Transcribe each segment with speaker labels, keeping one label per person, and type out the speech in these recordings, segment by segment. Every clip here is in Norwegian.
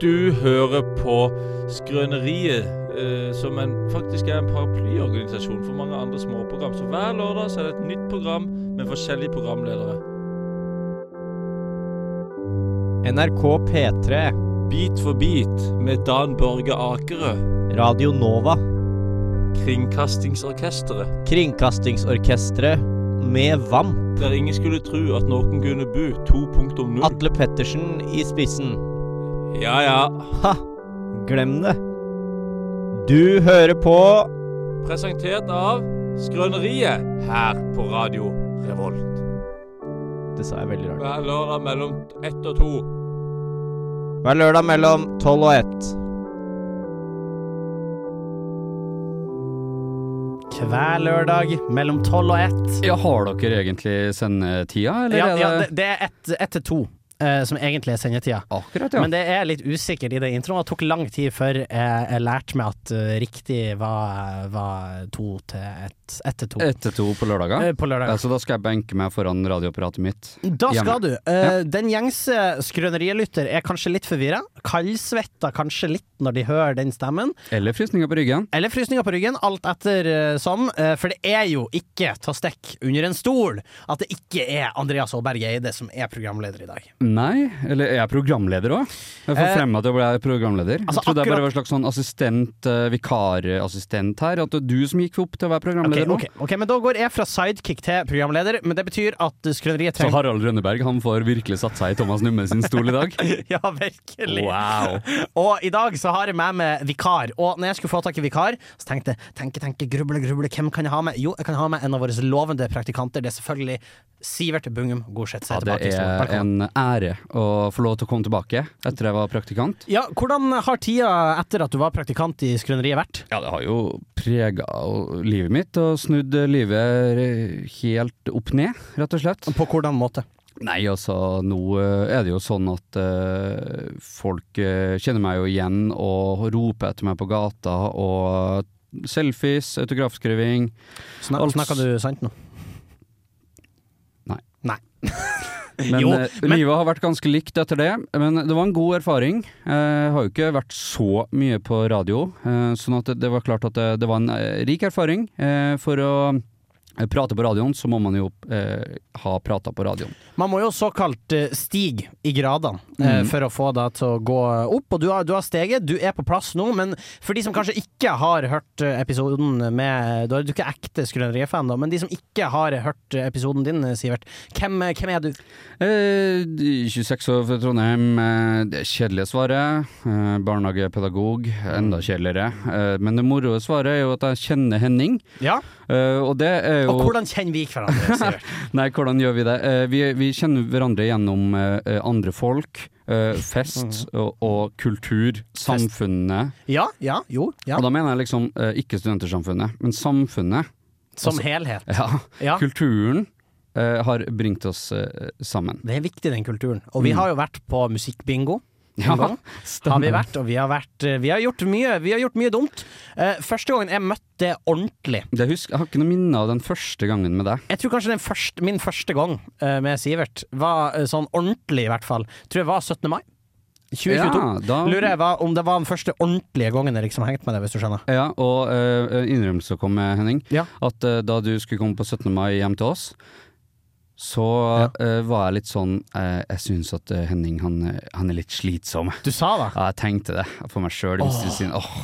Speaker 1: Du hører på Skrøneriet, eh, som en, faktisk er en paraplyorganisasjon for mange andre småprogram. Så hver lørdag så er det et nytt program med forskjellige programledere.
Speaker 2: NRK P3,
Speaker 1: Bit for bit med Dan Børge Akerø,
Speaker 2: Radio Nova,
Speaker 1: Kringkastingsorkesteret.
Speaker 2: Kringkastingsorkestret med VAM,
Speaker 1: Der ingen skulle tro at noen kunne bu 2.0.
Speaker 2: Atle Pettersen i spissen.
Speaker 1: Ja ja.
Speaker 2: Ha! Glem det. Du hører på
Speaker 1: Presentert av Skrøneriet her på Radio Revolt.
Speaker 2: Det sa jeg veldig rart.
Speaker 1: Hver lørdag mellom ett og to.
Speaker 2: Hver lørdag mellom tolv og ett.
Speaker 3: Hver lørdag mellom tolv og ett.
Speaker 4: Ja, har dere egentlig sendetida, eller
Speaker 3: Ja,
Speaker 4: er det,
Speaker 3: ja, det, det er ett ett til to, eh, som egentlig er sendetida.
Speaker 4: akkurat, ja?
Speaker 3: Men det er litt usikkert i den introen. Det tok lang tid før eh, jeg lærte meg at eh, riktig var, var to til ett. Ett til to.
Speaker 4: Etter to på lørdager?
Speaker 3: Eh, På
Speaker 4: Ja,
Speaker 3: lørdag.
Speaker 4: så da skal jeg benke meg foran radioapparatet mitt.
Speaker 3: Da
Speaker 4: hjemme.
Speaker 3: skal du. Eh, Den gjengse skrønerielytter er kanskje litt forvirra. Kaldsvetta kanskje litt når de hører den stemmen.
Speaker 4: Eller frysninger på ryggen.
Speaker 3: Eller frysninger på ryggen, alt etter eh, som. Eh, For det er jo ikke ta stekk under en stol at det ikke er Andreas Aaberge Eide som er programleder i dag.
Speaker 4: Nei, eller er jeg programleder òg? Jeg får
Speaker 3: Eh,
Speaker 4: frem at jeg ble programleder.
Speaker 3: altså,
Speaker 4: jeg trodde jeg
Speaker 3: akkurat-
Speaker 4: bare var en slags sånn assistent, eh, vikarassistent her. At det var du som gikk opp til å være
Speaker 3: Ok,
Speaker 4: programleder
Speaker 3: ok, ok, men Da går jeg fra sidekick til programleder, men det betyr at skrøneriet
Speaker 4: nå. Så
Speaker 3: trenger
Speaker 4: Harald Rønneberg han får virkelig satt seg i Thomas Numme sin stol i dag.
Speaker 3: Ja, virkelig.
Speaker 4: Wow.
Speaker 3: Og i dag så har jeg med meg vikar. Og når jeg skulle få tak i vikar, så tenkte jeg tenke, tenke, gruble, gruble, hvem kan jeg ha med? Jo, jeg kan ha med en av våre lovende praktikanter. Det er selvfølgelig Sivert Bungum Gorseth. som
Speaker 4: Ja,
Speaker 3: er tilbake
Speaker 4: det
Speaker 3: i stolen.
Speaker 4: er
Speaker 3: Velkommen.
Speaker 4: en ære å få lov til å komme tilbake etter jeg var praktikant.
Speaker 3: Ja, Hvordan har tida etter at du var praktikant i Skrøneriet vært?
Speaker 4: Ja, det har jo prega livet mitt og snudd livet eh, helt opp ned, rett og slett.
Speaker 3: På hvordan måte?
Speaker 4: Nei, altså, nå eh, er det jo sånn at eh, folk eh, kjenner meg jo igjen og roper etter meg på gata, og eh, selfies, autografskriving.
Speaker 3: Snak,
Speaker 4: Alt-
Speaker 3: Snakka du sant nå?
Speaker 4: Nei.
Speaker 3: Nei.
Speaker 4: Men
Speaker 3: Jo,
Speaker 4: eh,
Speaker 3: men-
Speaker 4: livet har vært ganske likt etter det. Men det var en god erfaring. Eh, har jo ikke vært så mye på radio, eh, sånn at det, det var klart at det, det var en eh, rik erfaring. Eh, for å eh, prate på radioen, så må man jo eh, ha prata på radioen.
Speaker 3: Man må jo såkalt eh, stige i gradene eh,
Speaker 4: Mhm.
Speaker 3: for å få deg til å gå eh, opp, og du har, du har steget. Du er på plass nå, men for de som kanskje ikke har hørt eh, episoden med Da er du ikke ekte Skrøneriet-fan, da, men de som ikke har hørt eh, episoden din, eh, Sivert, hvem, eh, hvem er du?
Speaker 4: Eh, 26 år fra Trondheim. Eh, det kjedelige svaret. Eh, barnehagepedagog. Enda kjedeligere. Eh, men det moroe svaret er jo at jeg kjenner Henning,
Speaker 3: Ja,
Speaker 4: eh, og det er jo
Speaker 3: Og hvordan kjenner vi hverandre, Sivert?
Speaker 4: Nei, hvordan gjør vi det? Eh, vi, vi kjenner hverandre gjennom eh, eh, andre folk, eh, fest og, og kultur, samfunnet.
Speaker 3: Mhm. Ja, ja, jo, ja.
Speaker 4: Og da mener jeg liksom eh, ikke studentersamfunnet, men samfunnet. altså,
Speaker 3: Som helhet.
Speaker 4: Ja,
Speaker 3: Ja.
Speaker 4: kulturen eh, har bringt oss eh, sammen.
Speaker 3: Det er viktig, den kulturen. Og vi har jo vært på musikkbingo. en
Speaker 4: Mm. Ja,
Speaker 3: gang. har vi vært, og vi har, vært, eh, vi har, gjort, mye, vi har gjort mye dumt. Eh, første gangen jeg møtte det ordentlig
Speaker 4: Det husk, jeg har ikke noe minne av den første gangen med deg.
Speaker 3: Jeg tror kanskje den første, min første gang eh, med Sivert var eh, sånn ordentlig, i hvert fall. Tror jeg var 17. mai 2022.
Speaker 4: Ja, da-
Speaker 3: Lurer jeg var, om det var den første ordentlige gangen jeg liksom hengte med deg, hvis du skjønner.
Speaker 4: Ja, og eh, innrømmelse kom med Henning,
Speaker 3: Ja.
Speaker 4: at eh, da du skulle komme på 17. mai hjem til oss, så eh, var jeg litt sånn eh, Jeg syns at eh, Henning han, eh, han er litt slitsom.
Speaker 3: Du sa det.
Speaker 4: Ja, jeg tenkte det for meg sjøl. Åh,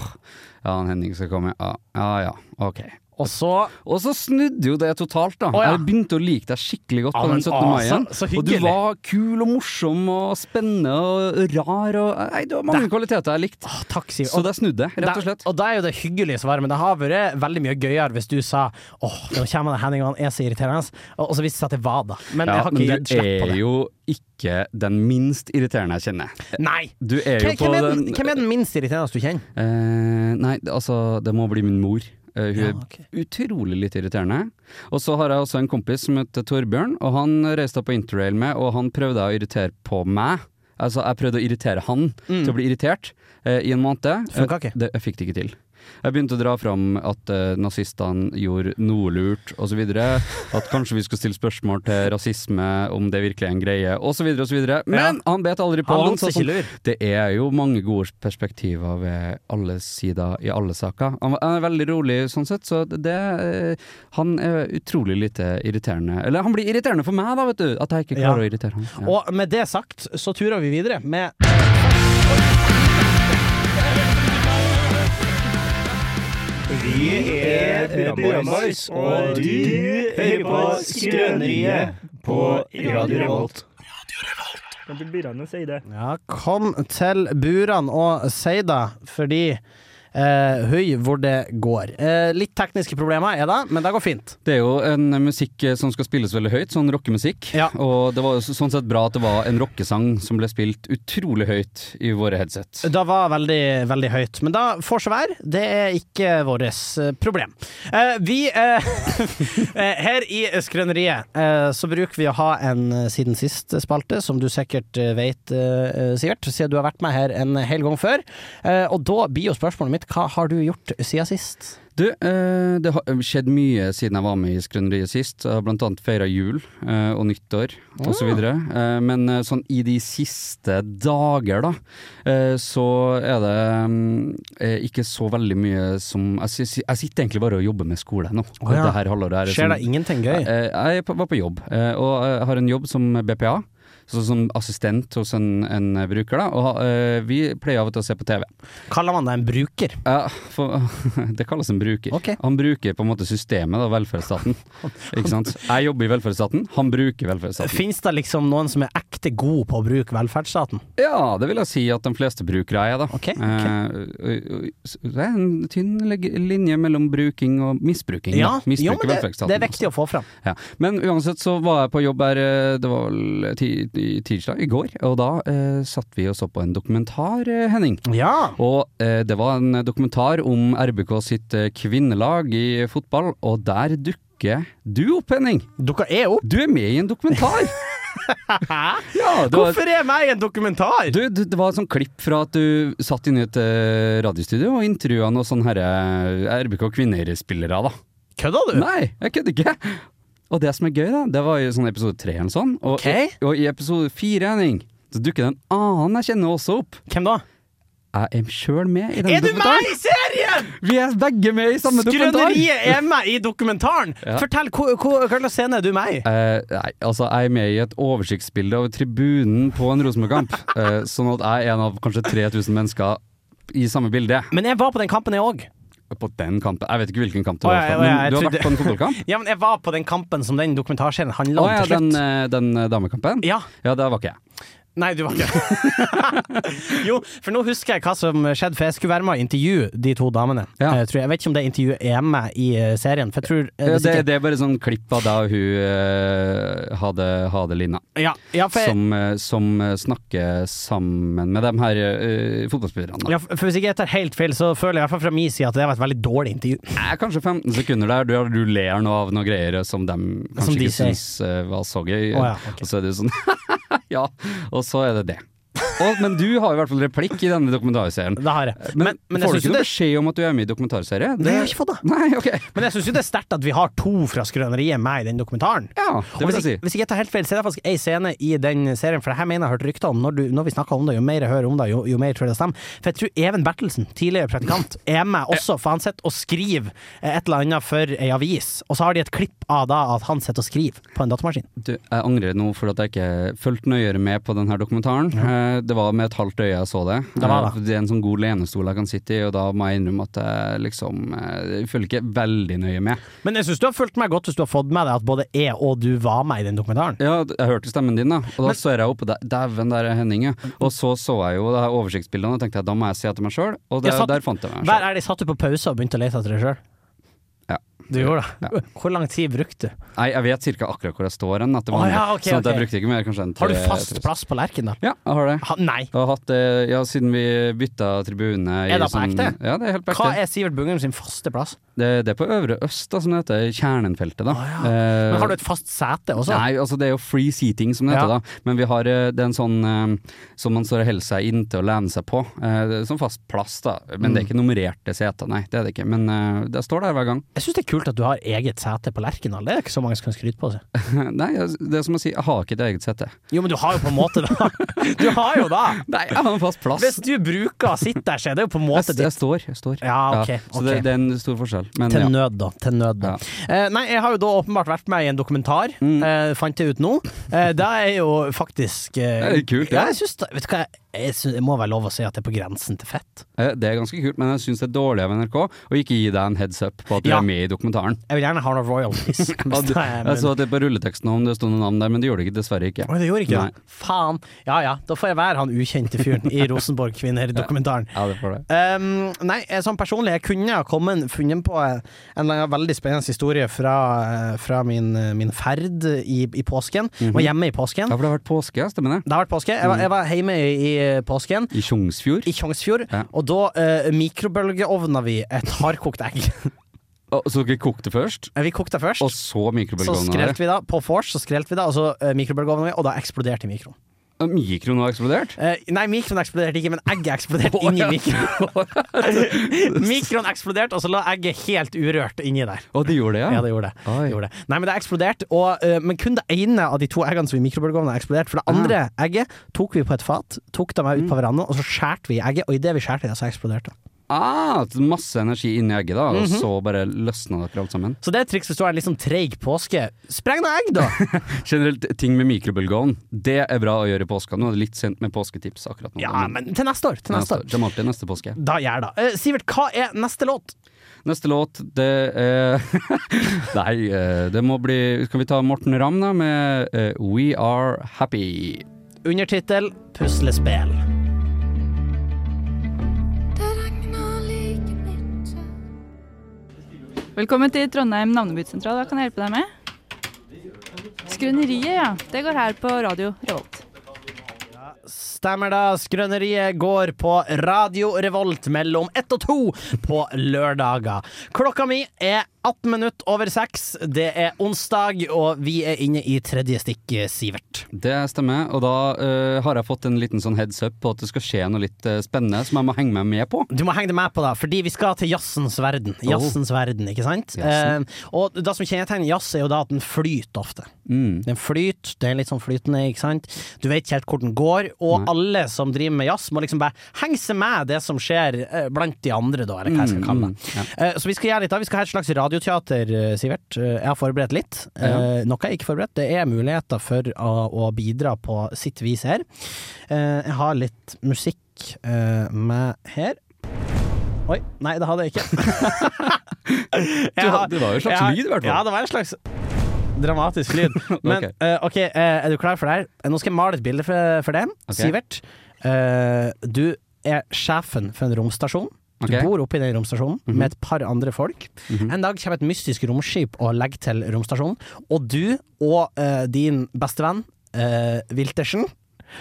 Speaker 4: ja, han Henning skal komme. Ja, ja, ja, ok.
Speaker 3: Og så
Speaker 4: Og så snudde jo det totalt, da.
Speaker 3: Å, ja.
Speaker 4: Jeg begynte å like deg skikkelig godt
Speaker 3: Ja,
Speaker 4: på
Speaker 3: men,
Speaker 4: den 17.
Speaker 3: å,
Speaker 4: mai. igjen.
Speaker 3: så- så
Speaker 4: og du
Speaker 3: hyggelig.
Speaker 4: var kul og morsom og spennende og rar og Nei, det var mange kvaliteter jeg likte.
Speaker 3: Å, Takk, Sivert.
Speaker 4: Så det snudde, rett og slett.
Speaker 3: Og da er jo det hyggelige svaret, men det har vært veldig mye gøyere hvis du sa åh, nå kommer det Henning, og han er så irriterende, og, og så viste det seg at det var det. Men jeg
Speaker 4: Ja,
Speaker 3: har
Speaker 4: men
Speaker 3: ikke
Speaker 4: du
Speaker 3: gitt slipp på
Speaker 4: er
Speaker 3: det.
Speaker 4: jo ikke den minst irriterende jeg kjenner.
Speaker 3: Nei!
Speaker 4: Du er jo
Speaker 3: Hvem,
Speaker 4: på
Speaker 3: hvem, er den,
Speaker 4: den
Speaker 3: hvem er den minst irriterende du kjenner?
Speaker 4: Eh, Nei, altså, det må bli min mor. Eh, hun
Speaker 3: Ja,
Speaker 4: er
Speaker 3: ok.
Speaker 4: utrolig litt irriterende. Og så har jeg også en kompis som heter Torbjørn, og han reiste jeg på interrail med, og han prøvde å irritere på meg.
Speaker 3: Mm.
Speaker 4: Altså, jeg prøvde å irritere han til å bli irritert eh, i en måned.
Speaker 3: Funka ikke.
Speaker 4: Eh, det, jeg fikk det ikke til. Jeg begynte å dra fram at eh, nazistene gjorde noe lurt, osv. At kanskje vi skulle stille spørsmål til rasisme, om det virkelig er en greie, osv. osv. Men han bet aldri på.
Speaker 3: Han lot
Speaker 4: sa
Speaker 3: seg ikke
Speaker 4: sånn,
Speaker 3: lure.
Speaker 4: Det er jo mange gode perspektiver ved alle sider i alle saker. Han var- han er veldig rolig sånn sett, så det eh, Han er utrolig lite irriterende. Eller han blir irriterende for meg, da, vet du! At jeg ikke
Speaker 3: Ja.
Speaker 4: klarer å irritere han. Ja.
Speaker 3: Og med det sagt, så turer vi videre med
Speaker 2: Vi er Rødboys, og du hører på Skrøneriet på Radio Revolt.
Speaker 5: Men til byrene sier det.
Speaker 3: Ja, kom til burene og si det, fordi eh, høy hvor det går. Eh, litt tekniske problemer er det, men det går fint.
Speaker 4: Det er jo en musikk eh, som skal spilles veldig høyt, sånn rockemusikk.
Speaker 3: Ja.
Speaker 4: Og det var jo så- sånn sett bra at det var en rockesang som ble spilt utrolig høyt i våre headset.
Speaker 3: Det var veldig, veldig høyt, men da får så være. Det er ikke vårt problem. Eh, vi eh, eh, Her i Skrøneriet eh, så bruker vi å ha en eh, Siden sist-spalte, som du sikkert eh, vet, eh, eh, Sivert, siden du har vært med her en hel gang før. Eh, og da blir jo spørsmålet mitt hva har du gjort siden sist?
Speaker 4: Du, eh, det har skjedd mye siden jeg var med i Skrøneriet sist. Jeg har blant annet feira jul eh, og nyttår
Speaker 3: Ah.
Speaker 4: osv. Eh, men eh, sånn i de siste dager, da, eh, så er det mm, eh, ikke så veldig mye som Jeg, sy- sy- jeg sitter egentlig bare og jobber med skole nå.
Speaker 3: Å ja.
Speaker 4: Det her halvåret her er
Speaker 3: Skjer
Speaker 4: sånn-
Speaker 3: det ingenting gøy?
Speaker 4: Eh, Jeg er på- var på jobb, eh, og jeg har en jobb som BPA. Så som assistent hos en, en bruker, da. Og ha- eh, vi pleier av og til å se på TV.
Speaker 3: Kaller man det en bruker?
Speaker 4: Ja, for, det kalles en bruker.
Speaker 3: Ok.
Speaker 4: Han bruker på en måte systemet, da, velferdsstaten. Ikke sant? Jeg jobber i velferdsstaten, han bruker velferdsstaten.
Speaker 3: Fins det liksom noen som er ekte god på å bruke velferdsstaten?
Speaker 4: Ja, det vil jeg si at de fleste brukere er, da.
Speaker 3: Ok, ok.
Speaker 4: Eh, og- og- så det er en tynn leg- linje mellom bruking og misbruking. da.
Speaker 3: Ja,
Speaker 4: Misbruker
Speaker 3: jo, men det,
Speaker 4: velferdsstaten,
Speaker 3: det er
Speaker 4: altså.
Speaker 3: viktig å få fram.
Speaker 4: Ja. Men uansett så var jeg på jobb her, eh, det var vel ti- i tirsdag, i går, og da eh, satt vi og så på en dokumentar, eh, Henning.
Speaker 3: Ja.
Speaker 4: Og eh, det var en dokumentar om RBK sitt eh, kvinnelag i fotball, og der dukker du opp, Henning!
Speaker 3: Dere er opp.
Speaker 4: Du er med i en dokumentar! ja, det var,
Speaker 3: Hvorfor er meg i en dokumentar?
Speaker 4: du, du, det var et sånt klipp fra at du satt inne i et eh, radiostudio og intervjua noen sånne herre eh, RBK kvinnespillere, da.
Speaker 3: Kødda du?
Speaker 4: Nei, jeg kødder ikke. Og det som er gøy, da, det var i sånn episode tre eller sånn. Og,
Speaker 3: Ok.
Speaker 4: og i episode fire, Henning, så dukker det en annen jeg kjenner også opp.
Speaker 3: Hvem da?
Speaker 4: Jeg er sjøl med i
Speaker 3: Er
Speaker 4: denne
Speaker 3: du med
Speaker 4: dokumentaren.
Speaker 3: i serien?!
Speaker 4: Vi er begge med i samme dokumentar!
Speaker 3: Skrøneriet er med i dokumentaren!
Speaker 4: Ja.
Speaker 3: Fortell, hvor- hvor- hva slags scene er du med i?
Speaker 4: Eh, nei, altså jeg er med i et oversiktsbilde over tribunen på en Rosenborg-kamp. eh, sånn at jeg er en av kanskje 3000 mennesker i samme bilde
Speaker 3: Men jeg var på den kampen, jeg òg.
Speaker 4: på den kampen. Jeg vet ikke hvilken kamp
Speaker 3: Å,
Speaker 4: det var,
Speaker 3: ja, ja,
Speaker 4: men
Speaker 3: ja, jeg
Speaker 4: du har
Speaker 3: trodde-
Speaker 4: vært på en fotballkamp?
Speaker 3: Ja, men jeg var på den kampen som den dokumentarserien handla
Speaker 4: Å
Speaker 3: om
Speaker 4: ja,
Speaker 3: til
Speaker 4: den,
Speaker 3: slutt.
Speaker 4: eh, den eh, damekampen?
Speaker 3: Ja.
Speaker 4: Ja, der var ikke jeg.
Speaker 3: Nei, du var ikke Jo, for nå husker jeg hva som skjedde, for jeg skulle være med og intervjue de to damene.
Speaker 4: Ja.
Speaker 3: Jeg, tror, jeg vet ikke om det intervjuet er med i eh, serien, for jeg tror eh,
Speaker 4: Ja,
Speaker 3: hvis
Speaker 4: det,
Speaker 3: ikke-
Speaker 4: det er bare sånn klipp av da hun eh, hadde, hadde Lina,
Speaker 3: Ja, ja, for, jeg,
Speaker 4: som, eh, som eh, snakker sammen med de her eh, fotballspillerne. da.
Speaker 3: ja, for hvis ikke jeg tar helt feil, så føler jeg i hvert fall fra min side at det var et veldig dårlig intervju.
Speaker 4: Eh, kanskje 15 sekunder der, du, du ler nå av noe greier som de kanskje
Speaker 3: Som de
Speaker 4: ikke
Speaker 3: sier.
Speaker 4: syns eh, var så gøy.
Speaker 3: Å ja, ok.
Speaker 4: Og så er det jo sånn Ja, og så er det det. Og, men du har i hvert fall replikk i denne dokumentarserien.
Speaker 3: Det har jeg.
Speaker 4: Men, får du
Speaker 3: synes jo
Speaker 4: ikke noe
Speaker 3: det-
Speaker 4: beskjed om at du er med i dokumentarserie?
Speaker 3: Nei, jeg har ikke fått det.
Speaker 4: Nei, ok.
Speaker 3: Men jeg syns jo det er sterkt at vi har to fra Skrøneriet med i den dokumentaren.
Speaker 4: Ja,
Speaker 3: Og
Speaker 4: det vil
Speaker 3: hvis,
Speaker 4: jeg si.
Speaker 3: ikke- hvis ikke jeg tar helt feil, så er det faktisk ei scene i den serien, for det her mener jeg har hørt rykter om, når, du, når vi snakker om det, jo mer jeg hører om det, jo, jo mer tror jeg det stemmer. For jeg tror Even Bertelsen, tidligere praktikant, er med også, for han sitter og skriver eh, et eller annet for ei avis, og så har de et klipp av da at han sitter og skriver på en datamaskin.
Speaker 4: Du, jeg angrer nå for at jeg ikke fulgte nøyere med på denne dokumentaren. Eh, Det var med et halvt øye jeg så det.
Speaker 3: Det var det.
Speaker 4: Eh, det er en sånn god lenestol jeg kan sitte i, og da må jeg innrømme at jeg liksom eh, jeg følger ikke veldig nøye med.
Speaker 3: Men jeg syns du har fulgt meg godt hvis du har fått med deg at både jeg og du var med i den dokumentaren.
Speaker 4: Ja, d- jeg hørte stemmen din, da. Og da så jeg opp, og da- dæven, der er Henning, ja. Og så så jeg jo det her oversiktsbildene, og tenkte jeg da må jeg se etter meg sjøl, og det,
Speaker 3: Jeg satt-
Speaker 4: der fant jeg meg
Speaker 3: Hver
Speaker 4: sjøl.
Speaker 3: er de satt du på pause og begynte å lete etter deg sjøl?
Speaker 4: Ja.
Speaker 3: Du gjorde det. Hvor lang tid brukte du?
Speaker 4: Nei, jeg vet cirka akkurat hvor jeg står hen. etter
Speaker 3: Å,
Speaker 4: vanlig,
Speaker 3: ja, ok,
Speaker 4: sånn at jeg
Speaker 3: ok.
Speaker 4: brukte ikke mer kanskje enn
Speaker 3: Har du
Speaker 4: tre-
Speaker 3: fast
Speaker 4: tre-
Speaker 3: plass på Lerken, da?
Speaker 4: Ja, jeg har det.
Speaker 3: Ha, nei.
Speaker 4: Jeg har hatt det ja, siden vi bytta tribune. i
Speaker 3: Er det på
Speaker 4: sånn-
Speaker 3: ekte?
Speaker 4: Ja, det er helt på ekte.
Speaker 3: Hva er Sivert Bungum sin faste plass?
Speaker 4: Det, det er på Øvre Øst, da, som det heter. Kjernenfeltet, da.
Speaker 3: Å,
Speaker 4: Eh,
Speaker 3: Men har du et fast sete også?
Speaker 4: Nei, altså det er jo free seating som det
Speaker 3: Ja.
Speaker 4: heter da, men vi har eh, det er en sånn eh, som man står og holder seg inntil og lener seg på, eh, det er sånn fast plass da, men
Speaker 3: Mm.
Speaker 4: det er ikke nummererte seter, nei det er det ikke, men eh, det står der hver gang.
Speaker 3: Jeg syns det er kult at du har eget sete på Lerkendal, det er ikke så mange som kan skryte på seg.
Speaker 4: nei, jeg- det er som å si, jeg har ikke et eget sete.
Speaker 3: Jo, men du har jo på en måte det. Du har jo det!
Speaker 4: Nei, jeg har en fast plass.
Speaker 3: Hvis du bruker å sitte der, så er det jo på en
Speaker 4: Jeg,
Speaker 3: måte
Speaker 4: jeg,
Speaker 3: ditt.
Speaker 4: står, jeg står.
Speaker 3: Ja, ok.
Speaker 4: så
Speaker 3: ok.
Speaker 4: Det, det er en stor forskjell. Men,
Speaker 3: Til
Speaker 4: ja. Mm.
Speaker 3: nød, da. Til nød, da. Eh, nei, jeg har jo da åpenbart vært med i en dokumentar, eh, fant jeg ut nå. Eh, det er jo faktisk eh,
Speaker 4: Det er kult,
Speaker 3: ja.
Speaker 4: ja.
Speaker 3: Jeg synes det, vet du hva, jeg, synes, det må være lov å si at det er på grensen til fett.
Speaker 4: Eh, Det er ganske kult, men jeg syns det er dårlig av NRK å ikke gi deg en heads up på at du
Speaker 3: Ja.
Speaker 4: er med i dokumentaren.
Speaker 3: Jeg vil gjerne ha noe royalties. hvis
Speaker 4: Ja, du,
Speaker 3: det er- men-
Speaker 4: jeg så at det på rulleteksten om det sto noen navn der, men det gjorde det ikke, dessverre ikke.
Speaker 3: Oi, det gjorde ikke
Speaker 4: Nei.
Speaker 3: det. Faen. Ja ja, da får jeg være han ukjente fyren i Rosenborg Kvinner-dokumentaren.
Speaker 4: Ja, det får det.
Speaker 3: Um, nei, eh, sånn personlig, jeg kunne ha kommet, funnet på eh, en eller annen veldig spennende historie fra, eh, fra min, eh, min ferd i, i påsken. Var hjemme i påsken.
Speaker 4: Mhm. Ja, Mhm. for det har vært påske, ja, stemmer det?
Speaker 3: Det har vært påske. Jeg var, jeg var hjemme i, i eh, påsken.
Speaker 4: I Tjongsfjord.
Speaker 3: I Tjongsfjord,
Speaker 4: Ja.
Speaker 3: og da uh, mikrobølgeovna vi et hardkokt egg. Eh,
Speaker 4: Å, Så dere kokte først,
Speaker 3: Vi kokte det først,
Speaker 4: og så
Speaker 3: så
Speaker 4: mikrobølgeovna
Speaker 3: skrelte
Speaker 4: der?
Speaker 3: vi det på vors, så skrelte vi det, og så uh, mikrobølgeovna vi, og da eksploderte mikroen.
Speaker 4: Ja, Mikroen har eksplodert?
Speaker 3: Eh, nei, mikroen eksploderte ikke, men egget eksploderte
Speaker 4: Å,
Speaker 3: inni
Speaker 4: ja.
Speaker 3: mikroen. mikroen eksploderte, og så lå egget helt urørt inni der.
Speaker 4: Å, det gjorde det, ja?
Speaker 3: Ja, det gjorde det.
Speaker 4: Ah. Oi.
Speaker 3: Det gjorde det. Nei, men det eksploderte, og, eh, men kun det ene av de to eggene som i mikrobølgeovnen eksploderte.
Speaker 4: Ah.
Speaker 3: For det andre egget tok vi på et fat, tok det
Speaker 4: Mm.
Speaker 3: med ut på verandaen, og så skjærte vi i egget, og idet vi skjærte i det, så eksploderte det.
Speaker 4: Ah, masse energi inni egget, da, og så bare løsna dere alt sammen.
Speaker 3: Så det er et triks hvis du har en litt sånn treig påske. Spreng noe egg, da!
Speaker 4: Generelt, ting med mikrobølgeovn, det er bra å gjøre i påska. Nå er det litt sent med påsketips akkurat nå.
Speaker 3: ja, men til neste år. Til neste år.
Speaker 4: Det må alltid neste påske.
Speaker 3: Da gjør det. Eh, Sivert, hva er neste låt?
Speaker 4: Neste låt, det er Nei, eh, det må bli Skal vi ta Morten Ramm, da, med eh, We Are Happy?
Speaker 3: Undertittel 'Puslespill'.
Speaker 6: Velkommen til Trondheim navnebytesentral. Hva kan jeg hjelpe deg med? Skrøneriet, ja. Det går her på radio Revolt.
Speaker 3: Stemmer da. Skrøneriet går på Radio Revolt mellom ett og to på lørdager. Klokka mi er 18 minutter over seks. Det er onsdag, og vi er inne i tredje stikk, Sivert.
Speaker 4: Det stemmer. Og da eh, har jeg fått en liten sånn heads up på at det skal skje noe litt eh, spennende som jeg må henge meg med på.
Speaker 3: Du må henge deg med på det, fordi vi skal til jazzens verden. Jazzens verden, ikke sant?
Speaker 4: Jazzen.
Speaker 3: Eh, og det som kjennetegner jazz, er jo da at den flyter ofte.
Speaker 4: Mm.
Speaker 3: Den flyter, det er litt sånn flytende, ikke sant? Du vet ikke helt hvor den går, og alle som driver med jazz, må liksom bare henge seg med det som skjer eh, blant de andre, da, eller hva jeg skal kalle det.
Speaker 4: Mm, ja.
Speaker 3: Eh, Så vi skal gjøre litt av, vi skal ha et slags radioteater, eh, Sivert. Eh, Jeg har forberedt litt. Eh, Noe jeg ikke har forberedt. Det er muligheter for å, å bidra på sitt vis her. Eh, Jeg har litt musikk eh, med her. Oi, nei det hadde jeg ikke.
Speaker 4: Du
Speaker 3: Jeg har-
Speaker 4: har- det var jo en slags
Speaker 3: jeg har-
Speaker 4: lyd, i hvert fall.
Speaker 3: Ja, det var en slags dramatisk lyd. Men
Speaker 4: Ok.
Speaker 3: eh, ok, eh, er du klar for det her? Nå skal jeg male et bilde for, for deg.
Speaker 4: Ok.
Speaker 3: Sivert, eh, du er sjefen for en romstasjon. Du
Speaker 4: Ok. Mhm.
Speaker 3: bor oppe i den romstasjonen med et par andre folk. En dag kommer et mystisk romskip og legger til romstasjonen, og du og eh, din bestevenn eh, Wiltersen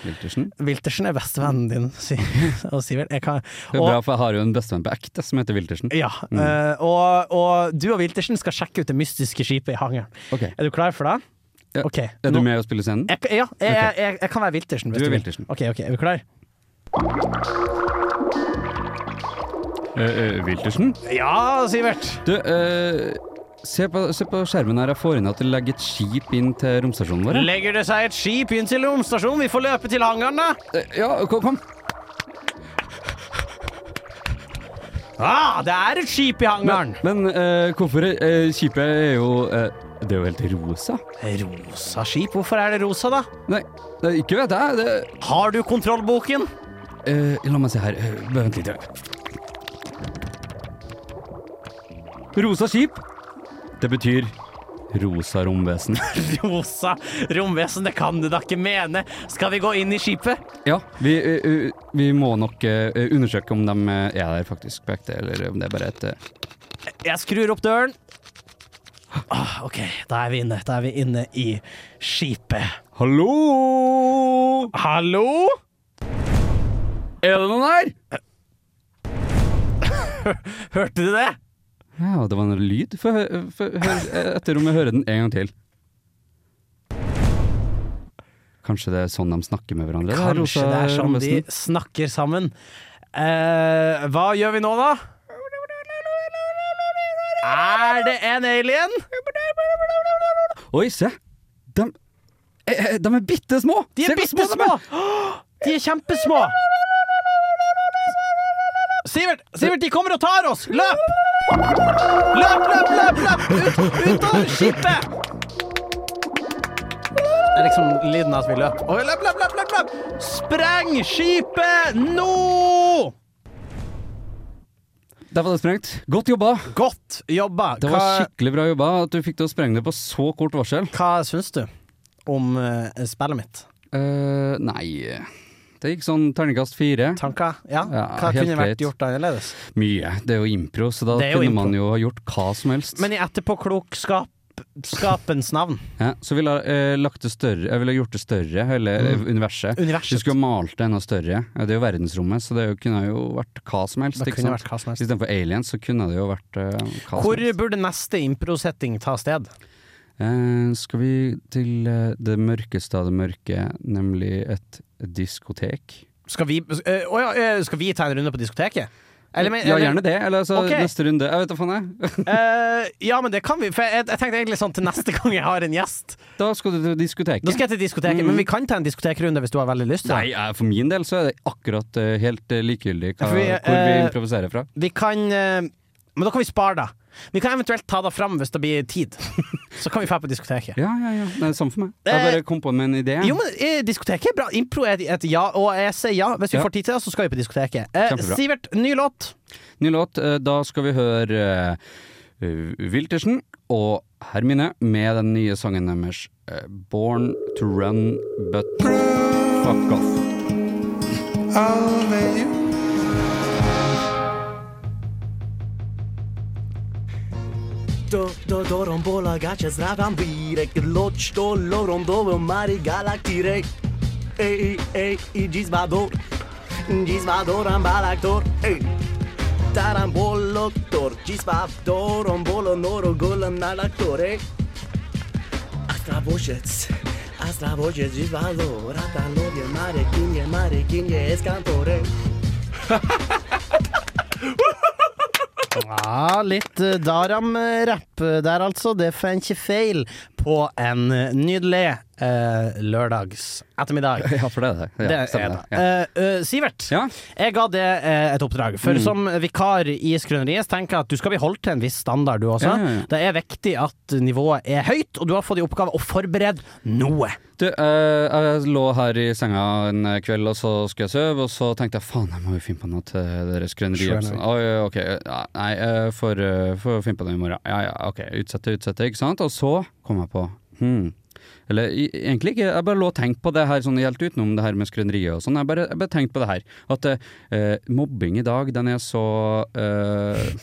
Speaker 4: Wiltersen.
Speaker 3: Wiltersen er bestevennen din, Si- og Sivert. Jeg kan,
Speaker 4: Det er
Speaker 3: og,
Speaker 4: bra, Mm. for jeg har jo en bestevenn på ekte som heter Wiltersen.
Speaker 3: ja, eh, og, og du og Wiltersen skal sjekke ut det mystiske skipet i hangaren.
Speaker 4: Ok.
Speaker 3: Er du klar for det?
Speaker 4: Ja.
Speaker 3: Ok,
Speaker 4: Er
Speaker 3: nå-
Speaker 4: du med å spille scenen?
Speaker 3: Jeg, ja, jeg, jeg, jeg, jeg kan være Wiltersen. hvis
Speaker 4: Du er
Speaker 3: vil.
Speaker 4: Wiltersen.
Speaker 3: Ok, ok, Er du klar?
Speaker 4: Eh, eh, Wiltersen?
Speaker 3: Ja, Sivert!
Speaker 4: Du, eh, se, på, se på skjermen her. Jeg får inn at du legger et skip inn til romstasjonen vår.
Speaker 3: Legger det seg et skip inn til romstasjonen? Vi får løpe til hangaren, da!
Speaker 4: Eh, ja, kom, kom.
Speaker 3: Ah, det er et skip i hangaren!
Speaker 4: Men eh, hvorfor eh, Skipet er jo eh, Det er jo helt rosa.
Speaker 3: Rosa skip? Hvorfor er det rosa, da?
Speaker 4: Nei, det, ikke vet jeg. Det,
Speaker 3: Har du kontrollboken?
Speaker 4: eh, la meg se her. Eh, Bare vent litt. ja. Rosa skip. Det betyr rosa romvesen.
Speaker 3: Rosa romvesen, det kan du da ikke mene! Skal vi gå inn i skipet?
Speaker 4: Ja, vi, eh, eh, vi må nok eh, undersøke om de eh, er der faktisk på ekte, eller om det er bare et eh,
Speaker 3: Jeg skrur opp døren. Ah, OK, da er vi inne. Da er vi inne i skipet.
Speaker 4: Hallo!
Speaker 3: Hallo?
Speaker 4: Er det noen her?
Speaker 3: Hørte du det?
Speaker 4: Ja, det var en lyd. Få hø- få hør etter om jeg hører den en gang til. Kanskje det er sånn de snakker med hverandre? da,
Speaker 3: Kanskje
Speaker 4: Rosa
Speaker 3: det er sånn de
Speaker 4: Lommesen?
Speaker 3: snakker sammen. Eh, hva gjør vi nå, da? Er det en alien?
Speaker 4: Oi, se! De, eh, eh, de er bitte små!
Speaker 3: De er bitte små! De er kjempesmå! Sivert, Sivert, de kommer og tar oss! Løp! Løp, løp, løp! løp. Ut, ut av skipet! Det er liksom lyden av at vi løp. Oi, løp, løp, løp, løp, løp! Spreng skipet nå!
Speaker 4: Der var det sprengt. Godt jobba!
Speaker 3: Godt jobba.
Speaker 4: Det var
Speaker 3: Hva-
Speaker 4: skikkelig bra jobba at du fikk til å sprenge det på så kort varsel.
Speaker 3: Hva syns du om eh, spillet mitt?
Speaker 4: Eh, nei Det gikk sånn terningkast fire.
Speaker 3: Tanker? Ja?
Speaker 4: Ja,
Speaker 3: Hva
Speaker 4: helt
Speaker 3: kunne vært
Speaker 4: greit.
Speaker 3: gjort annerledes?
Speaker 4: Mye. Det er jo impro, så da
Speaker 3: Det er jo
Speaker 4: kunne
Speaker 3: impro.
Speaker 4: man jo ha gjort hva som helst.
Speaker 3: Men i etterpåklokskapens navn,
Speaker 4: ja, så ville jeg, eh, lagt det større, jeg ville gjort det større, hele
Speaker 3: Mm.
Speaker 4: eh, universet. Du
Speaker 3: universet
Speaker 4: skulle ha malt det enda større. Ja, Det er jo verdensrommet, så det er jo, kunne jo vært hva som helst.
Speaker 3: Det
Speaker 4: Ikke
Speaker 3: kunne
Speaker 4: sant?
Speaker 3: vært hva som helst.
Speaker 4: Istedenfor aliens, så kunne det jo vært eh, hva
Speaker 3: Hvor
Speaker 4: som helst.
Speaker 3: burde neste impro-setting ta sted?
Speaker 4: Eh, skal vi til eh, det mørkeste av det mørke, nemlig et diskotek?
Speaker 3: Skal vi, eh, å ja, eh, skal vi ta en runde på diskoteket? Eller, men-
Speaker 4: ja,
Speaker 3: eller-
Speaker 4: gjerne det. Eller altså,
Speaker 3: Ok.
Speaker 4: neste runde. Jeg vet da faen, jeg.
Speaker 3: eh, ja, men det kan vi. For jeg, jeg tenkte egentlig sånn til neste gang jeg har en gjest.
Speaker 4: Da skal du til diskoteket.
Speaker 3: Da skal jeg til diskoteket,
Speaker 4: Mm.
Speaker 3: men vi kan ta en diskotekrunde hvis du har veldig lyst til det.
Speaker 4: Nei, eh, for min del så er det akkurat eh, helt eh, likegyldig hva,
Speaker 3: For vi,
Speaker 4: hvor vi
Speaker 3: eh,
Speaker 4: improviserer fra.
Speaker 3: Vi kan eh, Men da kan vi spare det. Vi kan eventuelt ta det fram hvis det blir tid. Så kan vi dra på diskoteket.
Speaker 4: Ja, ja, ja. Det er samme for meg. Jeg
Speaker 3: Eh,
Speaker 4: bare kom på med en idé.
Speaker 3: Jo, men eh, diskoteket er bra. Impro er et- et ja, og jeg sier ja. Hvis vi
Speaker 4: Ja.
Speaker 3: får tid til det, så skal vi på diskoteket. Eh,
Speaker 4: Kjempebra.
Speaker 3: Sivert, ny låt.
Speaker 4: Ny låt. eh, Da skal vi høre eh, Wiltersen og Hermine med den nye sangen deres eh, Born to Run But Fuck Off.
Speaker 7: To, to, to pomagacie z rabambirek Loć to lorądowo mary galaktirek Ej, ej, i dziś bador Dziś badoram balaktor Ej Taram boloktor Dziś badoram bolo noro golam nalaktor Ej Astraboziec Astraboziec dziś bador Ratanowie mary kinie mary kinie eskantor Ej
Speaker 3: Ja, litt eh, Daram-rapp der, altså. Det får en ikke feil på en nydelig eh, lørdags ettermiddag.
Speaker 4: Ja, for det er det. Ja,
Speaker 3: Det er
Speaker 4: stemmer
Speaker 3: det.
Speaker 4: det. Ja.
Speaker 3: Eh, eh, Sivert,
Speaker 4: Ja.
Speaker 3: jeg ga det eh, et oppdrag. For
Speaker 4: Mm.
Speaker 3: som vikar i Skrøneriet så tenker jeg at du skal bli holdt til en viss standard, du også.
Speaker 4: Ja, ja, ja.
Speaker 3: Det er viktig at nivået er høyt, og du har fått i oppgave å forberede noe.
Speaker 4: Du, eh, jeg lå her i senga en kveld, og så skulle jeg sove, og så tenkte jeg faen, jeg må jo finne på noe til deres grønneri.
Speaker 3: Sure,
Speaker 4: Sånn, Oi, ok, ja, nei, jeg får, eh, får finne på det i morgen. Ja, ja, ok, utsette, utsette, ikke sant? Og så kom jeg på, hmm. Eller i- egentlig ikke, jeg bare lå og tenkte på det her sånn helt utenom det her med skrøneriet og sånn. Jeg bare, jeg bare tenkte på det her, at eh, mobbing i dag, den er så, eh,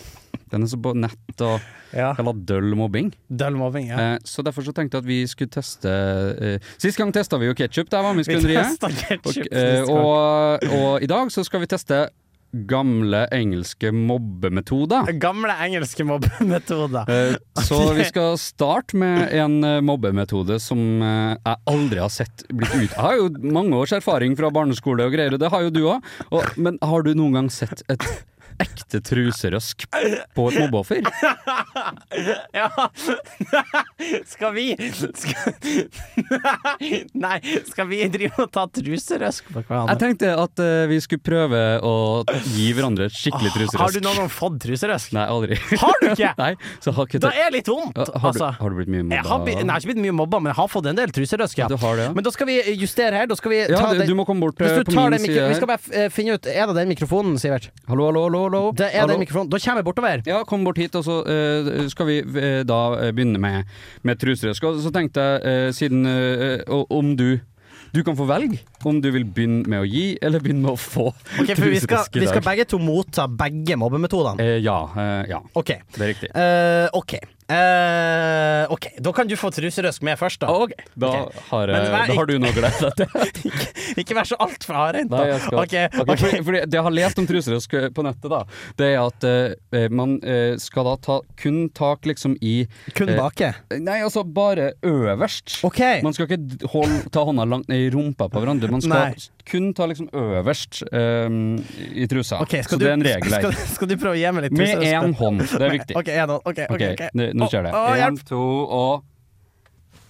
Speaker 4: den er så på nett og
Speaker 5: Ja.
Speaker 4: kalla døll mobbing.
Speaker 3: Døll mobbing, ja.
Speaker 4: Eh, så derfor så tenkte jeg at vi skulle teste eh, Sist gang testa vi jo ketsjup, der var vi i
Speaker 3: Vi
Speaker 4: skrøneriet.
Speaker 3: tester ketchup
Speaker 4: Og, eh,
Speaker 3: sist gang.
Speaker 4: og, og i dag så skal vi teste gamle engelske mobbemetoder.
Speaker 3: Gamle engelske mobbemetoder.
Speaker 4: Eh, Så vi skal starte med en eh, mobbemetode som eh, jeg aldri har sett blitt ut. Jeg har jo mange års erfaring fra barneskole og greier, og det har jo du òg. Men har du noen gang sett et ekte truserøsk på et mobbeoffer?
Speaker 3: Ja Skal vi skal, Nei, skal vi drive og ta truserøsk på
Speaker 4: Jeg
Speaker 3: hverandre?
Speaker 4: tenkte at eh, vi skulle prøve å gi hverandre et skikkelig truserøsk.
Speaker 3: Har du noen gang fått truserøsk?
Speaker 4: Nei, aldri.
Speaker 3: Har du ikke?
Speaker 4: Nei, så har ikke
Speaker 3: Da
Speaker 4: det.
Speaker 3: er det litt vondt,
Speaker 4: Ja, har, du,
Speaker 3: altså.
Speaker 4: har du blitt mye mobba?
Speaker 3: Jeg har, bli- nei, jeg har ikke blitt mye mobba, men jeg har fått en del truserøsk, ja.
Speaker 4: Du har det, ja.
Speaker 3: Men da skal vi eh, justere her. Da skal vi
Speaker 4: ja,
Speaker 3: ta
Speaker 4: du,
Speaker 3: den
Speaker 4: du må komme bort eh,
Speaker 3: hvis du
Speaker 4: på
Speaker 3: tar
Speaker 4: min
Speaker 3: den mikro...
Speaker 4: side.
Speaker 3: Vi skal bare f- eh, finne ut Er det den mikrofonen, Sivert?
Speaker 4: Hallo, hallo, hallo. hallo.
Speaker 3: Det er
Speaker 4: hallo.
Speaker 3: den mikrofonen. Da kommer jeg bortover.
Speaker 4: Ja, kom bort hit, og så eh, skal vi eh, da eh, begynne med, med truserøsk. Og så tenkte jeg, eh, siden eh, og- om du Du kan få velge om du vil begynne med å gi, eller begynne med å få
Speaker 3: Ok, for vi skal,
Speaker 4: truserøsk i
Speaker 3: vi skal
Speaker 4: dag.
Speaker 3: begge to motta begge mobbemetodene.
Speaker 4: Eh, ja, eh, ja,
Speaker 3: OK.
Speaker 4: det er riktig.
Speaker 3: Eh, ok, Eh, OK, da kan du få truserøsk med først, da.
Speaker 4: Ok, da har, jeg-
Speaker 3: Men vær
Speaker 4: da har du noe å glede deg til.
Speaker 3: Ikke vær så altfor hardhendt, da.
Speaker 4: Nei, jeg skal.
Speaker 3: Ok,
Speaker 4: Ok,
Speaker 3: ok.
Speaker 4: Fordi, fordi det jeg har lest om truserøsk på nettet, da, det er at eh, man eh, skal da ta, kun tak liksom i
Speaker 3: Kun
Speaker 4: Eh,
Speaker 3: bake.
Speaker 4: Nei, altså bare øverst.
Speaker 3: OK.
Speaker 4: Man skal ikke d- hold, ta hånda langt ned i rumpa på hverandre. Man skal
Speaker 3: Nei.
Speaker 4: kun ta liksom øverst ehm, i trusa.
Speaker 3: Ok, skal
Speaker 4: Så
Speaker 3: du,
Speaker 4: det er en regel
Speaker 3: skal,
Speaker 4: her.
Speaker 3: skal du prøve å gi meg litt
Speaker 4: Med
Speaker 3: truserøsk?
Speaker 4: én hånd, det er viktig.
Speaker 3: OK, en hånd. Ok, ok,
Speaker 4: Ok,
Speaker 3: ok.
Speaker 4: n- Nå skjer det.
Speaker 3: Å, å,
Speaker 4: Én,
Speaker 3: hjelp.
Speaker 4: to og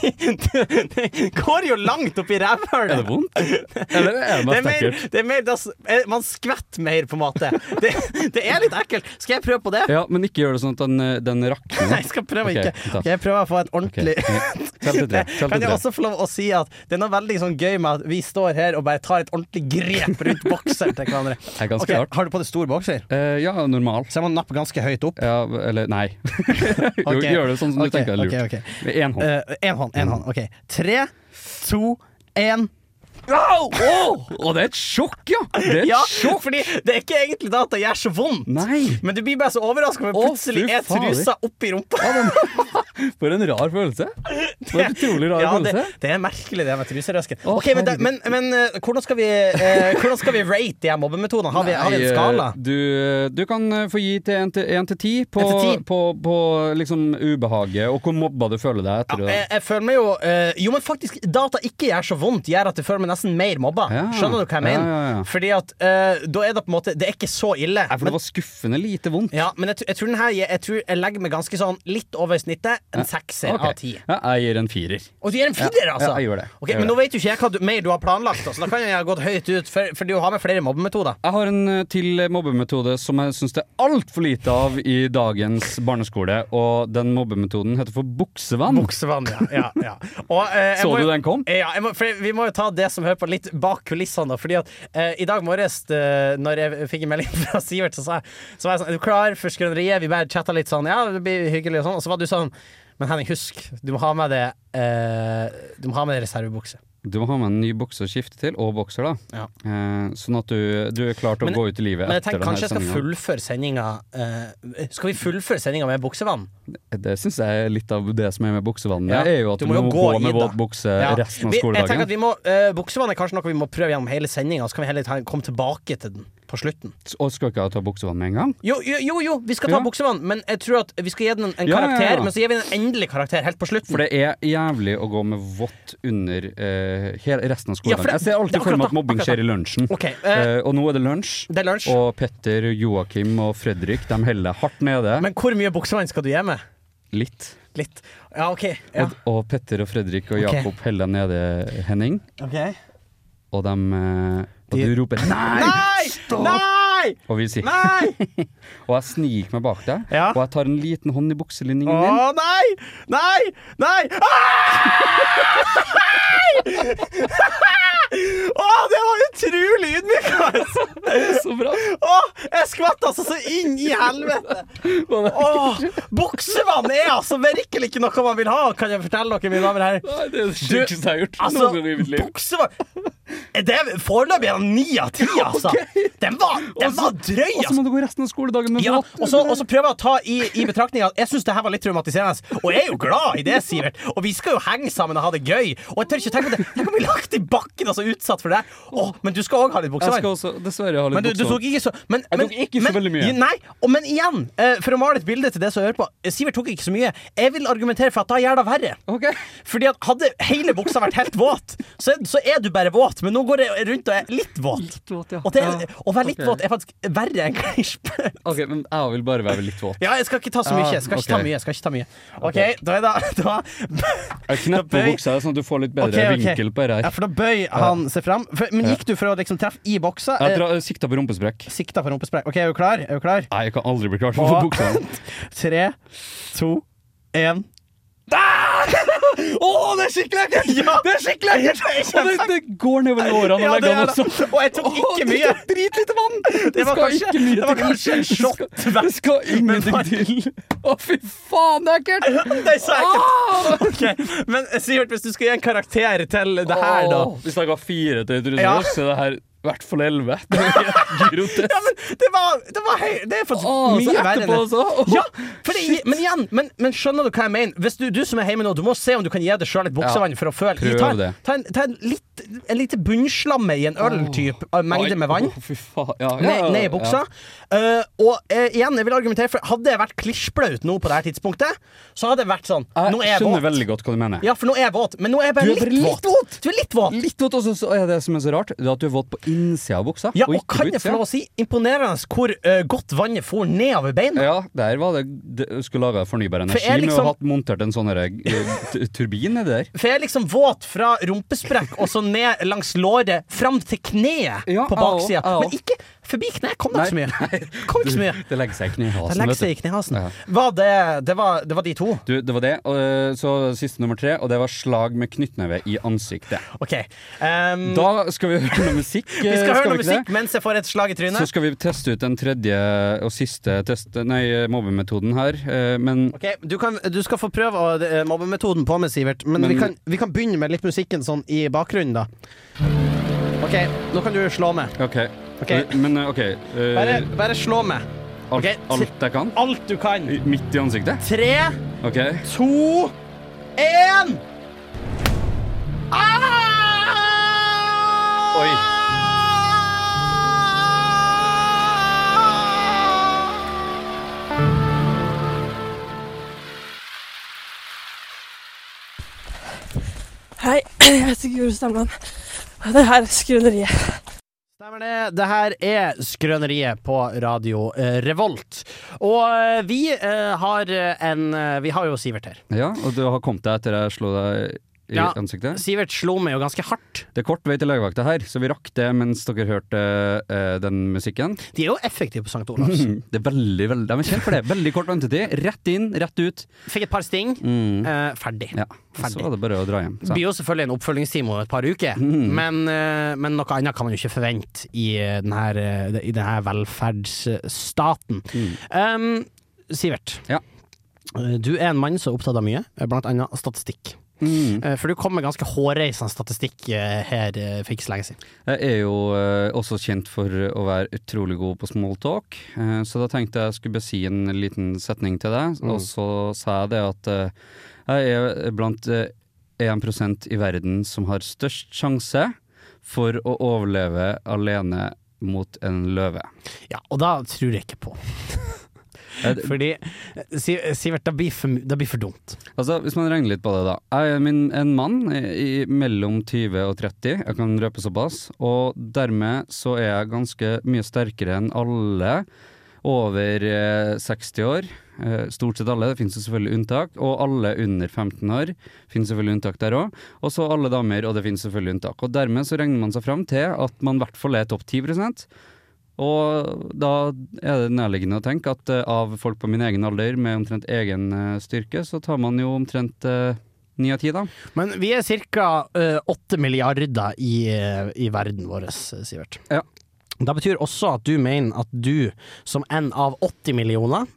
Speaker 3: Det går jo langt opp i rævhølet.
Speaker 4: Er det vondt? Eller er det
Speaker 3: Det
Speaker 4: bare
Speaker 3: er mer,
Speaker 4: ekkelt?
Speaker 3: det er mer da s- eh, Man skvetter mer, på en måte. Det, det er litt ekkelt. Skal jeg prøve på det?
Speaker 4: Ja, men ikke gjør det sånn at den, eh, den rakner.
Speaker 3: Nei, jeg skal prøve
Speaker 4: Ok,
Speaker 3: ikke.
Speaker 4: ta.
Speaker 3: Ok, jeg prøver å få et ordentlig
Speaker 4: Tell til tre. Tell
Speaker 3: Kan jeg
Speaker 4: til tre.
Speaker 3: også få lov å si at det er noe veldig sånn gøy med at vi står her og bare tar et ordentlig grep rundt bokseren til hverandre.
Speaker 4: Det er ganske
Speaker 3: Ok,
Speaker 4: rart.
Speaker 3: har du på deg stor bokser?
Speaker 4: Eh, ja, normal.
Speaker 3: Så jeg må nappe ganske høyt opp.
Speaker 4: Ja, eller nei. Jo,
Speaker 3: Ok.
Speaker 4: Gjør det sånn som du
Speaker 3: Ok,
Speaker 4: tenker er lurt.
Speaker 3: ok, Eh. ok.
Speaker 4: Med én hånd.
Speaker 3: Én hånd, én hånd. OK. Tre, to, én.
Speaker 4: Au! Å! Å, det er et sjokk, ja! Det er et
Speaker 3: Ja,
Speaker 4: sjokk!
Speaker 3: fordi det er ikke egentlig da at det gjør så vondt.
Speaker 4: Nei!
Speaker 3: Men du blir bare så overraska, men
Speaker 4: Å,
Speaker 3: plutselig
Speaker 4: fy
Speaker 3: er
Speaker 4: fader.
Speaker 3: trusa oppi rumpa.
Speaker 4: For en rar følelse. For en utrolig rar
Speaker 3: Ja, det,
Speaker 4: følelse.
Speaker 3: det er merkelig, det med truserøsken.
Speaker 4: Å,
Speaker 3: Ok, men, det, men, men eh, hvordan, skal vi, eh, hvordan skal vi rate de her mobbemetodene? Har vi, har vi
Speaker 4: Nei,
Speaker 3: en skala?
Speaker 4: eh, Du, du kan eh, få gi til én til- én til ti på,
Speaker 3: En til ti?
Speaker 4: på, på liksom ubehaget og hvor mobba du føler deg etter
Speaker 3: Jeg, jeg føler meg jo eh, Jo, men faktisk, det at det ikke gjør så vondt, gjør at jeg føler meg nesten mer mobba.
Speaker 4: Ja.
Speaker 3: Skjønner du hva jeg
Speaker 4: Ja,
Speaker 3: mener?
Speaker 4: ja, ja.
Speaker 3: Fordi at eh, da er det på en måte Det er ikke så ille.
Speaker 4: Nei, for det var skuffende lite vondt.
Speaker 3: Ja, men jeg, tr- jeg tror den her Jeg, jeg tror jeg legger meg ganske sånn litt over snittet. En sekser
Speaker 4: Ok.
Speaker 3: av ti.
Speaker 4: Ja, jeg gir en firer.
Speaker 3: Og du gir en firer,
Speaker 4: Ja,
Speaker 3: altså?
Speaker 4: jeg gjør det.
Speaker 3: Ok,
Speaker 4: Jeg gjør
Speaker 3: men nå
Speaker 4: det.
Speaker 3: vet jo ikke jeg hva du, mer du har planlagt, altså. da, så da kan jeg ha gått høyt ut, for, for du har med flere mobbemetoder.
Speaker 4: Jeg har en eh, til mobbemetode som jeg syns det er altfor lite av i dagens barneskole, og den mobbemetoden heter for buksevann.
Speaker 3: Buksevann, ja. ja, ja. Og, eh, jeg
Speaker 4: Så
Speaker 3: må jo-
Speaker 4: du den kom?
Speaker 3: Ja, jeg må, for vi må jo ta det som hører på litt bak kulissene. da, Fordi at eh, I dag morges, eh, når jeg fikk en melding fra Sivert, så, sa jeg, så var jeg sånn Er du klar for skrøneriet? Vi bare chatta litt sånn, ja, det blir hyggelig, og sånn. Og så var du sånn Men Henning, husk, du må ha med deg eh, Du må ha med deg reservebukse.
Speaker 4: Du må ha med en ny bukse å skifte til, og bokser, da.
Speaker 3: Ja.
Speaker 4: Eh, sånn at du, du er klar til å
Speaker 3: Men-
Speaker 4: gå ut i livet
Speaker 3: Men jeg
Speaker 4: etter
Speaker 3: tenker
Speaker 4: denne
Speaker 3: kanskje jeg skal
Speaker 4: sendinga.
Speaker 3: fullføre sendinga eh, Skal vi fullføre sendinga med buksevann?
Speaker 4: Eh, Det syns jeg er litt av det som er med buksevannet,
Speaker 3: Ja,
Speaker 4: er jo
Speaker 3: du
Speaker 4: at du
Speaker 3: må
Speaker 4: må,
Speaker 3: jo
Speaker 4: gå,
Speaker 3: gå i
Speaker 4: med
Speaker 3: det.
Speaker 4: våt bukse
Speaker 3: Ja.
Speaker 4: eh, resten av
Speaker 3: Vi- Jeg tenker
Speaker 4: skoledagen.
Speaker 3: at vi må, eh, Buksevann er kanskje noe vi må prøve gjennom hele sendinga, så kan vi heller ta, komme tilbake til den på slutten.
Speaker 4: Og skal ikke jeg ta buksevann med en gang?
Speaker 3: Jo, jo, jo, jo vi skal ta
Speaker 4: Ja.
Speaker 3: Buksevann, men jeg tror at vi skal gi den en, en
Speaker 4: Ja, ja,
Speaker 3: karakter.
Speaker 4: ja.
Speaker 3: Men så gir vi den en endelig karakter helt på slutten.
Speaker 4: For det er jævlig å gå med vått under eh, hele resten av
Speaker 3: Ja, for
Speaker 4: skoledagen.
Speaker 3: det-
Speaker 4: jeg ser
Speaker 3: det er
Speaker 4: alltid for
Speaker 3: akkurat
Speaker 4: meg at
Speaker 3: da,
Speaker 4: mobbing
Speaker 3: akkurat
Speaker 4: skjer
Speaker 3: da.
Speaker 4: i lunsjen.
Speaker 3: Ok, eh,
Speaker 4: Eh, og nå er det lunsj.
Speaker 3: det er lunsj.
Speaker 4: Og Petter, Joakim og Fredrik de heller hardt nede.
Speaker 3: Men hvor mye buksevann skal du gi meg?
Speaker 4: Litt.
Speaker 3: Litt. Ja, OK. Ja.
Speaker 4: Og, og Petter og Fredrik og
Speaker 3: Ok.
Speaker 4: Jakob heller nede, Henning.
Speaker 3: Ok.
Speaker 4: Og, dem, eh, og
Speaker 3: De-
Speaker 4: du roper 'nei!'
Speaker 3: Nei! Nei!
Speaker 4: Og vi sier
Speaker 3: Nei!
Speaker 4: Og jeg sniker meg bak deg,
Speaker 3: Ja.
Speaker 4: og jeg tar en liten hånd i bukselinningen
Speaker 3: Å
Speaker 4: din.
Speaker 3: nei! Nei! Nei! Ai! Å, det var utrolig ydmykende!
Speaker 4: Så bra!
Speaker 3: Å, jeg skvatt altså så inn i helvete! Åh, buksevann er altså virkelig ikke noe man vil ha, kan jeg fortelle dere, mine damer og herrer.
Speaker 4: Nei, det er det
Speaker 3: sjukeste
Speaker 4: jeg har gjort
Speaker 3: Altså, buksevann Er Det er foreløpig en ni av ti, altså. Den var, den var drøy,
Speaker 4: Og så
Speaker 3: altså.
Speaker 4: må du gå resten av skoledagen med sånn.
Speaker 3: Ja,
Speaker 4: våt
Speaker 3: og så og så prøver jeg å ta i, i betraktning at jeg syns det her var litt traumatiserende. Og jeg er jo glad i det, Sivert. Og vi skal jo henge sammen og ha det gøy. Og jeg tør ikke tenke på det. Tenk om vi lagt i bakken og så utsatt for det. Åh, men du skal òg ha litt
Speaker 4: Jeg skal
Speaker 3: buksevann.
Speaker 4: også dessverre ha litt
Speaker 3: Men du, du tok
Speaker 4: buksevann.
Speaker 3: ikke så men,
Speaker 4: Jeg
Speaker 3: men-
Speaker 4: tok ikke så
Speaker 3: men-
Speaker 4: veldig mye.
Speaker 3: Nei, og, men igjen, eh, for å male et bilde til det som hører på. eh, Sivert tok ikke så mye. Jeg vil argumentere for at da gjør det verre.
Speaker 4: Ok.
Speaker 3: Fordi at Hadde hele buksa vært helt våt, så, er- så er du bare våt. Men nå går jeg rundt og er litt våt.
Speaker 4: våt, ja.
Speaker 3: Og det, er-
Speaker 4: Ja.
Speaker 3: å være litt
Speaker 4: Ok.
Speaker 3: våt er faktisk verre enn klisp.
Speaker 4: Ok, men jeg vil bare være litt våt.
Speaker 3: Ja, jeg skal ikke ta så mye. Jeg skal ikke
Speaker 4: Ah,
Speaker 3: ta
Speaker 4: ok.
Speaker 3: mye. Jeg skal ikke ta mye. OK, da er det da
Speaker 4: Jeg knepper
Speaker 3: bøy-
Speaker 4: buksa sånn at du får litt bedre
Speaker 3: Ok, ok.
Speaker 4: vinkel på dette
Speaker 3: Ja,
Speaker 4: her.
Speaker 3: for da bøy han seg fram. For, men gikk du for å liksom treffe i boksa?
Speaker 4: Jeg
Speaker 3: Eh,
Speaker 4: drar, sikta på rumpesprekk.
Speaker 3: sikta for rumpesprekk. OK, er du klar? Er du klar?
Speaker 4: Nei, jeg kan aldri bli klar for
Speaker 3: Og-
Speaker 4: buksa.
Speaker 3: Tre, to, én.
Speaker 4: Å, Ah! det er skikkelig ekkelt! Det er skikkelig ekkelt! Og det, det går nedover årene
Speaker 3: Ja,
Speaker 4: og
Speaker 3: det
Speaker 4: leggene
Speaker 3: er det.
Speaker 4: også.
Speaker 3: Og jeg tok
Speaker 4: Å,
Speaker 3: ikke
Speaker 4: du
Speaker 3: mye.
Speaker 4: tok Dritlite vann! Det
Speaker 3: var
Speaker 4: skal
Speaker 3: kanskje-
Speaker 4: ikke mye
Speaker 3: det var
Speaker 4: til.
Speaker 3: kanskje en shot
Speaker 4: Det skal- Det skal ingenting til. Å, fy faen, det er ekkelt!
Speaker 3: Det er Ah! så ekkelt! Ok, eh, Men Sivert, hvis du skal gi en karakter til det her, da
Speaker 4: Å, Hvis jeg ga fire til
Speaker 3: Ja.
Speaker 4: Trudeau, så er det her I hvert fall elleve. Det var helt grotesk.
Speaker 3: Ja, men det var, det var høy, Det er faktisk
Speaker 4: Å, så
Speaker 3: mye verre enn
Speaker 4: etterpå
Speaker 3: det.
Speaker 4: også. Å,
Speaker 3: Ja, for det, men igjen, men, men skjønner du hva jeg mener? Hvis du, du som er hjemme nå, du må se om du kan gi deg sjøl litt buksevann for å føle
Speaker 4: prøv
Speaker 3: ta, en-
Speaker 4: det.
Speaker 3: Ta en, ta en, litt, en lite bunnslamme i en øl-type av mengde med vann.
Speaker 4: Å, fy faen. Ja, ja,
Speaker 3: Ned,
Speaker 4: ja,
Speaker 3: ned i buksa. Eh, og eh, igjen, jeg vil argumentere for hadde jeg vært klissblaut nå på det her tidspunktet, så hadde jeg vært sånn
Speaker 4: Ja.
Speaker 3: Nå er
Speaker 4: Jeg
Speaker 3: jeg
Speaker 4: skjønner
Speaker 3: våt.
Speaker 4: veldig godt hva du mener.
Speaker 3: Ja, for nå er jeg våt, men nå er jeg
Speaker 4: Du
Speaker 3: bare
Speaker 4: er bare
Speaker 3: litt
Speaker 4: litt
Speaker 3: våt. Du er litt våt.
Speaker 4: Litt våt, og så- så er det som er så rart, det er at du er våt på innsida av buksa.
Speaker 3: Ja, og
Speaker 4: ikke på
Speaker 3: kan jeg få
Speaker 4: utsida.
Speaker 3: lov å si, imponerende hvor eh, godt vannet for nedover beina.
Speaker 4: Ja, der var det det- skulle lage fornybar energi
Speaker 3: jeg
Speaker 4: med å
Speaker 3: liksom-
Speaker 4: ha montert en sånn her, eh, t- turbin nedi der.
Speaker 3: For jeg er liksom våt fra rumpesprekk og så ned langs låret, fram til kneet
Speaker 4: Ja,
Speaker 3: på
Speaker 4: jeg også,
Speaker 3: baksida.
Speaker 4: jeg også.
Speaker 3: Men ikke forbi kneet. Kom det ikke så
Speaker 4: Nei,
Speaker 3: mye. Kom ikke så mye.
Speaker 4: Det legger seg i
Speaker 3: Det
Speaker 4: knehasen,
Speaker 3: legger
Speaker 4: vet
Speaker 3: seg
Speaker 4: du.
Speaker 3: i knehasen.
Speaker 4: Ja.
Speaker 3: Var det, det, var, det var de to.
Speaker 4: du. Det var det. Og eh, så siste nummer tre, og det var slag med knyttneve i ansiktet.
Speaker 3: OK. ehm,
Speaker 4: Da skal vi høre noe musikk.
Speaker 3: vi Eh, skal høre noe
Speaker 4: ikke det?
Speaker 3: musikk mens jeg får et slag i
Speaker 4: Så
Speaker 3: trynet.
Speaker 4: skal vi teste ut den tredje og siste test, nei, mobbemetoden her. eh, Men
Speaker 3: Ok, du, kan, du skal få prøve å- det er mobbemetoden på meg, Sivert. Men, vi,
Speaker 4: Men-
Speaker 3: kan, vi kan begynne med litt musikken sånn i bakgrunnen, da. OK, nå kan du slå meg.
Speaker 4: OK.
Speaker 3: Ok.
Speaker 4: Eh, Men eh, OK. eh,
Speaker 3: Bare, bare slå meg.
Speaker 4: alt,
Speaker 3: ok.
Speaker 4: alt jeg kan?
Speaker 3: Alt du kan.
Speaker 4: I- Midt i ansiktet?
Speaker 3: Tre,
Speaker 4: OK.
Speaker 3: to, én.
Speaker 4: Oi.
Speaker 8: Hei, jeg heter Guro Stamland. Og det her er Skrøneriet.
Speaker 3: Stemmer det. Det her er Skrøneriet på radio eh, Revolt. Og eh, vi eh, har eh, en eh, Vi har jo Sivert her.
Speaker 4: Ja, og du har kommet deg etter jeg slo deg i
Speaker 3: Ja.
Speaker 4: ansiktet?
Speaker 3: Sivert slo meg jo ganske hardt.
Speaker 4: Det er kort vei til legevakta her, så vi rakk det mens dere hørte eh, den musikken.
Speaker 3: De er jo effektive på St. Olavs.
Speaker 4: Det er veldig, veldig, de er kjent for det. Veldig kort ventetid. Rett inn, rett ut.
Speaker 3: Fikk et par sting.
Speaker 4: Mm.
Speaker 3: eh, ferdig.
Speaker 4: Ja.
Speaker 3: Ferdig.
Speaker 4: Så var det bare å dra hjem.
Speaker 3: Det
Speaker 4: Så.
Speaker 3: blir jo selvfølgelig en oppfølgingstime om et par uker, men, eh, men noe annet kan man jo ikke forvente i eh, den her, eh, i den her velferdsstaten.
Speaker 4: Mm.
Speaker 3: Um, Sivert,
Speaker 4: Ja.
Speaker 3: Eh, du er en mann som er opptatt av mye, eh, blant annet statistikk.
Speaker 4: Mm.
Speaker 3: Eh, For du kom med ganske hårreisende statistikk eh, her eh, for ikke så lenge siden.
Speaker 4: Jeg er jo eh, også kjent for å være utrolig god på smalltalk, eh, så da tenkte jeg skulle besi en liten setning til deg, og så sa jeg det at eh, jeg er blant eh, 1 i verden som har størst sjanse for å overleve alene mot en løve.
Speaker 3: Ja, og da tror jeg ikke på.
Speaker 4: Eh, d-
Speaker 3: Fordi eh, Si- Sivert, det blir for, mu- det blir for dumt.
Speaker 4: Altså, Hvis man regner litt på det, da. Jeg er min, en mann i, i mellom 20 og 30, jeg kan røpe såpass. Og dermed så er jeg ganske mye sterkere enn alle over eh, 60 år. Eh, stort sett alle, det finnes jo selvfølgelig unntak. Og alle under 15 år, finnes selvfølgelig unntak der òg. Og så alle damer, og det finnes selvfølgelig unntak. Og dermed så regner man seg fram til at man i hvert fall er topp 10 og da er det nærliggende å tenke at eh, av folk på min egen alder med omtrent egen eh, styrke, så tar man jo omtrent eh, ni av ti, da.
Speaker 3: Men vi er ca. åtte milliarder i, eh, i verden vår, eh, Sivert.
Speaker 4: Ja.
Speaker 3: Det betyr også at du mener at du, som en av 80 millioner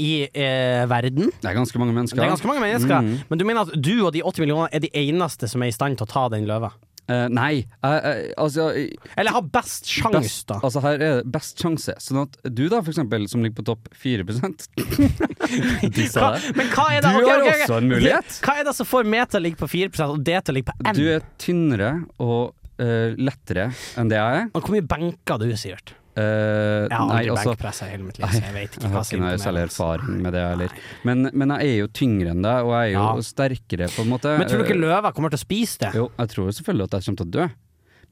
Speaker 3: i eh, verden
Speaker 4: Det er ganske mange mennesker.
Speaker 3: Det er ganske mange mennesker,
Speaker 4: Mhm.
Speaker 3: men du mener at du og de 80 millionene er de eneste som er i stand til å ta den løva?
Speaker 4: Eh, nei, jeg- jeg- altså jeg-
Speaker 3: Eller har best sjanse,
Speaker 4: best,
Speaker 3: da?
Speaker 4: altså her er det best sjanse. Sånn at du da, for eksempel, som ligger på topp 4 De sa
Speaker 3: Hva,
Speaker 4: det.
Speaker 3: men hva er det?
Speaker 4: Du
Speaker 3: Ok,
Speaker 4: har
Speaker 3: ok, ok.
Speaker 4: også en mulighet.
Speaker 3: Hva er det som får meg til å ligge på 4 og det til å ligge på 1?
Speaker 4: Du er tynnere og eh, lettere enn det jeg er.
Speaker 3: Og Hvor mye benker du, Sivert?
Speaker 4: Eh,
Speaker 3: Jeg har
Speaker 4: nei,
Speaker 3: aldri
Speaker 4: altså,
Speaker 3: benkpressa i hele mitt liv, så jeg vet ikke
Speaker 4: Jeg
Speaker 3: hva
Speaker 4: har ikke
Speaker 3: som
Speaker 4: noe særlig
Speaker 3: imponerer.
Speaker 4: erfaring med det heller. Men, men jeg er jo tyngre enn deg, og jeg er jo
Speaker 3: Ja.
Speaker 4: sterkere, på en måte.
Speaker 3: Men tror du ikke løva kommer til å spise det?
Speaker 4: Jo, jeg tror selvfølgelig at jeg kommer til å dø,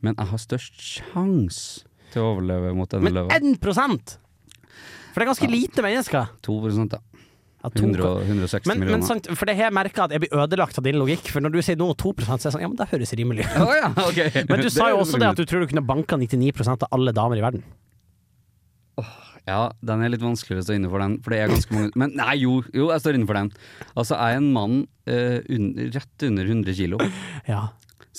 Speaker 4: men jeg har størst sjanse til å overleve mot denne
Speaker 3: Men
Speaker 4: løva.
Speaker 3: 1 For det er ganske lite mennesker.
Speaker 4: 2 da.
Speaker 3: Ja, to-
Speaker 4: 100, og- 160
Speaker 3: men, men
Speaker 4: millioner.
Speaker 3: sant, for det her merker jeg at jeg blir ødelagt av din logikk, for når du sier nå 2 så er jeg sånn Ja, men det høres rimelig ut.
Speaker 4: Å ja, ok.
Speaker 3: Men du sa
Speaker 4: er
Speaker 3: jo også det at du tror du kunne banka 99 av alle damer i verden.
Speaker 4: Ja, den er litt vanskeligere å stå inne for den, for det er ganske mange Men nei, jo, jo jeg står inne for den. Altså, jeg er en mann eh, un, rett under 100 kilo.
Speaker 3: Ja.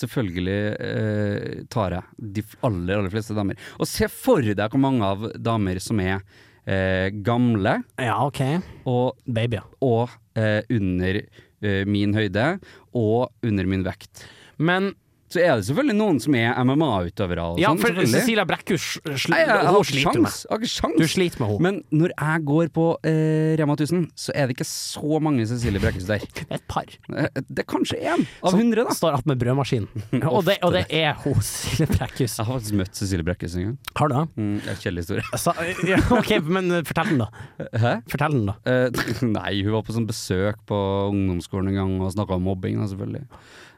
Speaker 4: Selvfølgelig eh, tar jeg de f- aller, aller fleste damer. Og se for deg hvor mange av damer som er eh, gamle
Speaker 3: ja, OK.
Speaker 4: og,
Speaker 3: Babyer.
Speaker 4: og eh, under eh, min høyde og under min vekt.
Speaker 3: Men
Speaker 4: så er det selvfølgelig noen som er MMA-utøvere og
Speaker 3: Ja,
Speaker 4: sånn.
Speaker 3: for
Speaker 4: selvfølgelig.
Speaker 3: Cecilia Brækhus sl-
Speaker 4: Nei, jeg, jeg,
Speaker 3: hun
Speaker 4: har ikke
Speaker 3: sliter du med.
Speaker 4: sjans. Jeg har ikke sjans.
Speaker 3: Du sliter med henne.
Speaker 4: Men når jeg går på eh, Rema 1000, så er det ikke så mange Cecilie Brækhus der.
Speaker 3: Et par.
Speaker 4: Eh, Det er kanskje én
Speaker 3: Sånn.
Speaker 4: av hundre, da.
Speaker 3: Står attmed brødmaskinen. Og det, og det er hun, Cecilie Brækhus.
Speaker 4: Jeg har faktisk møtt Cecilie Brækhus en gang.
Speaker 3: Har du det?
Speaker 4: Mm, det er en Kjedelig historie.
Speaker 3: Sa, ja, ok, men eh, fortell den, da.
Speaker 4: Hæ?
Speaker 3: Fortell den, da.
Speaker 4: Eh, nei, hun var på sånn besøk på ungdomsskolen en gang og snakka om mobbing, da, selvfølgelig.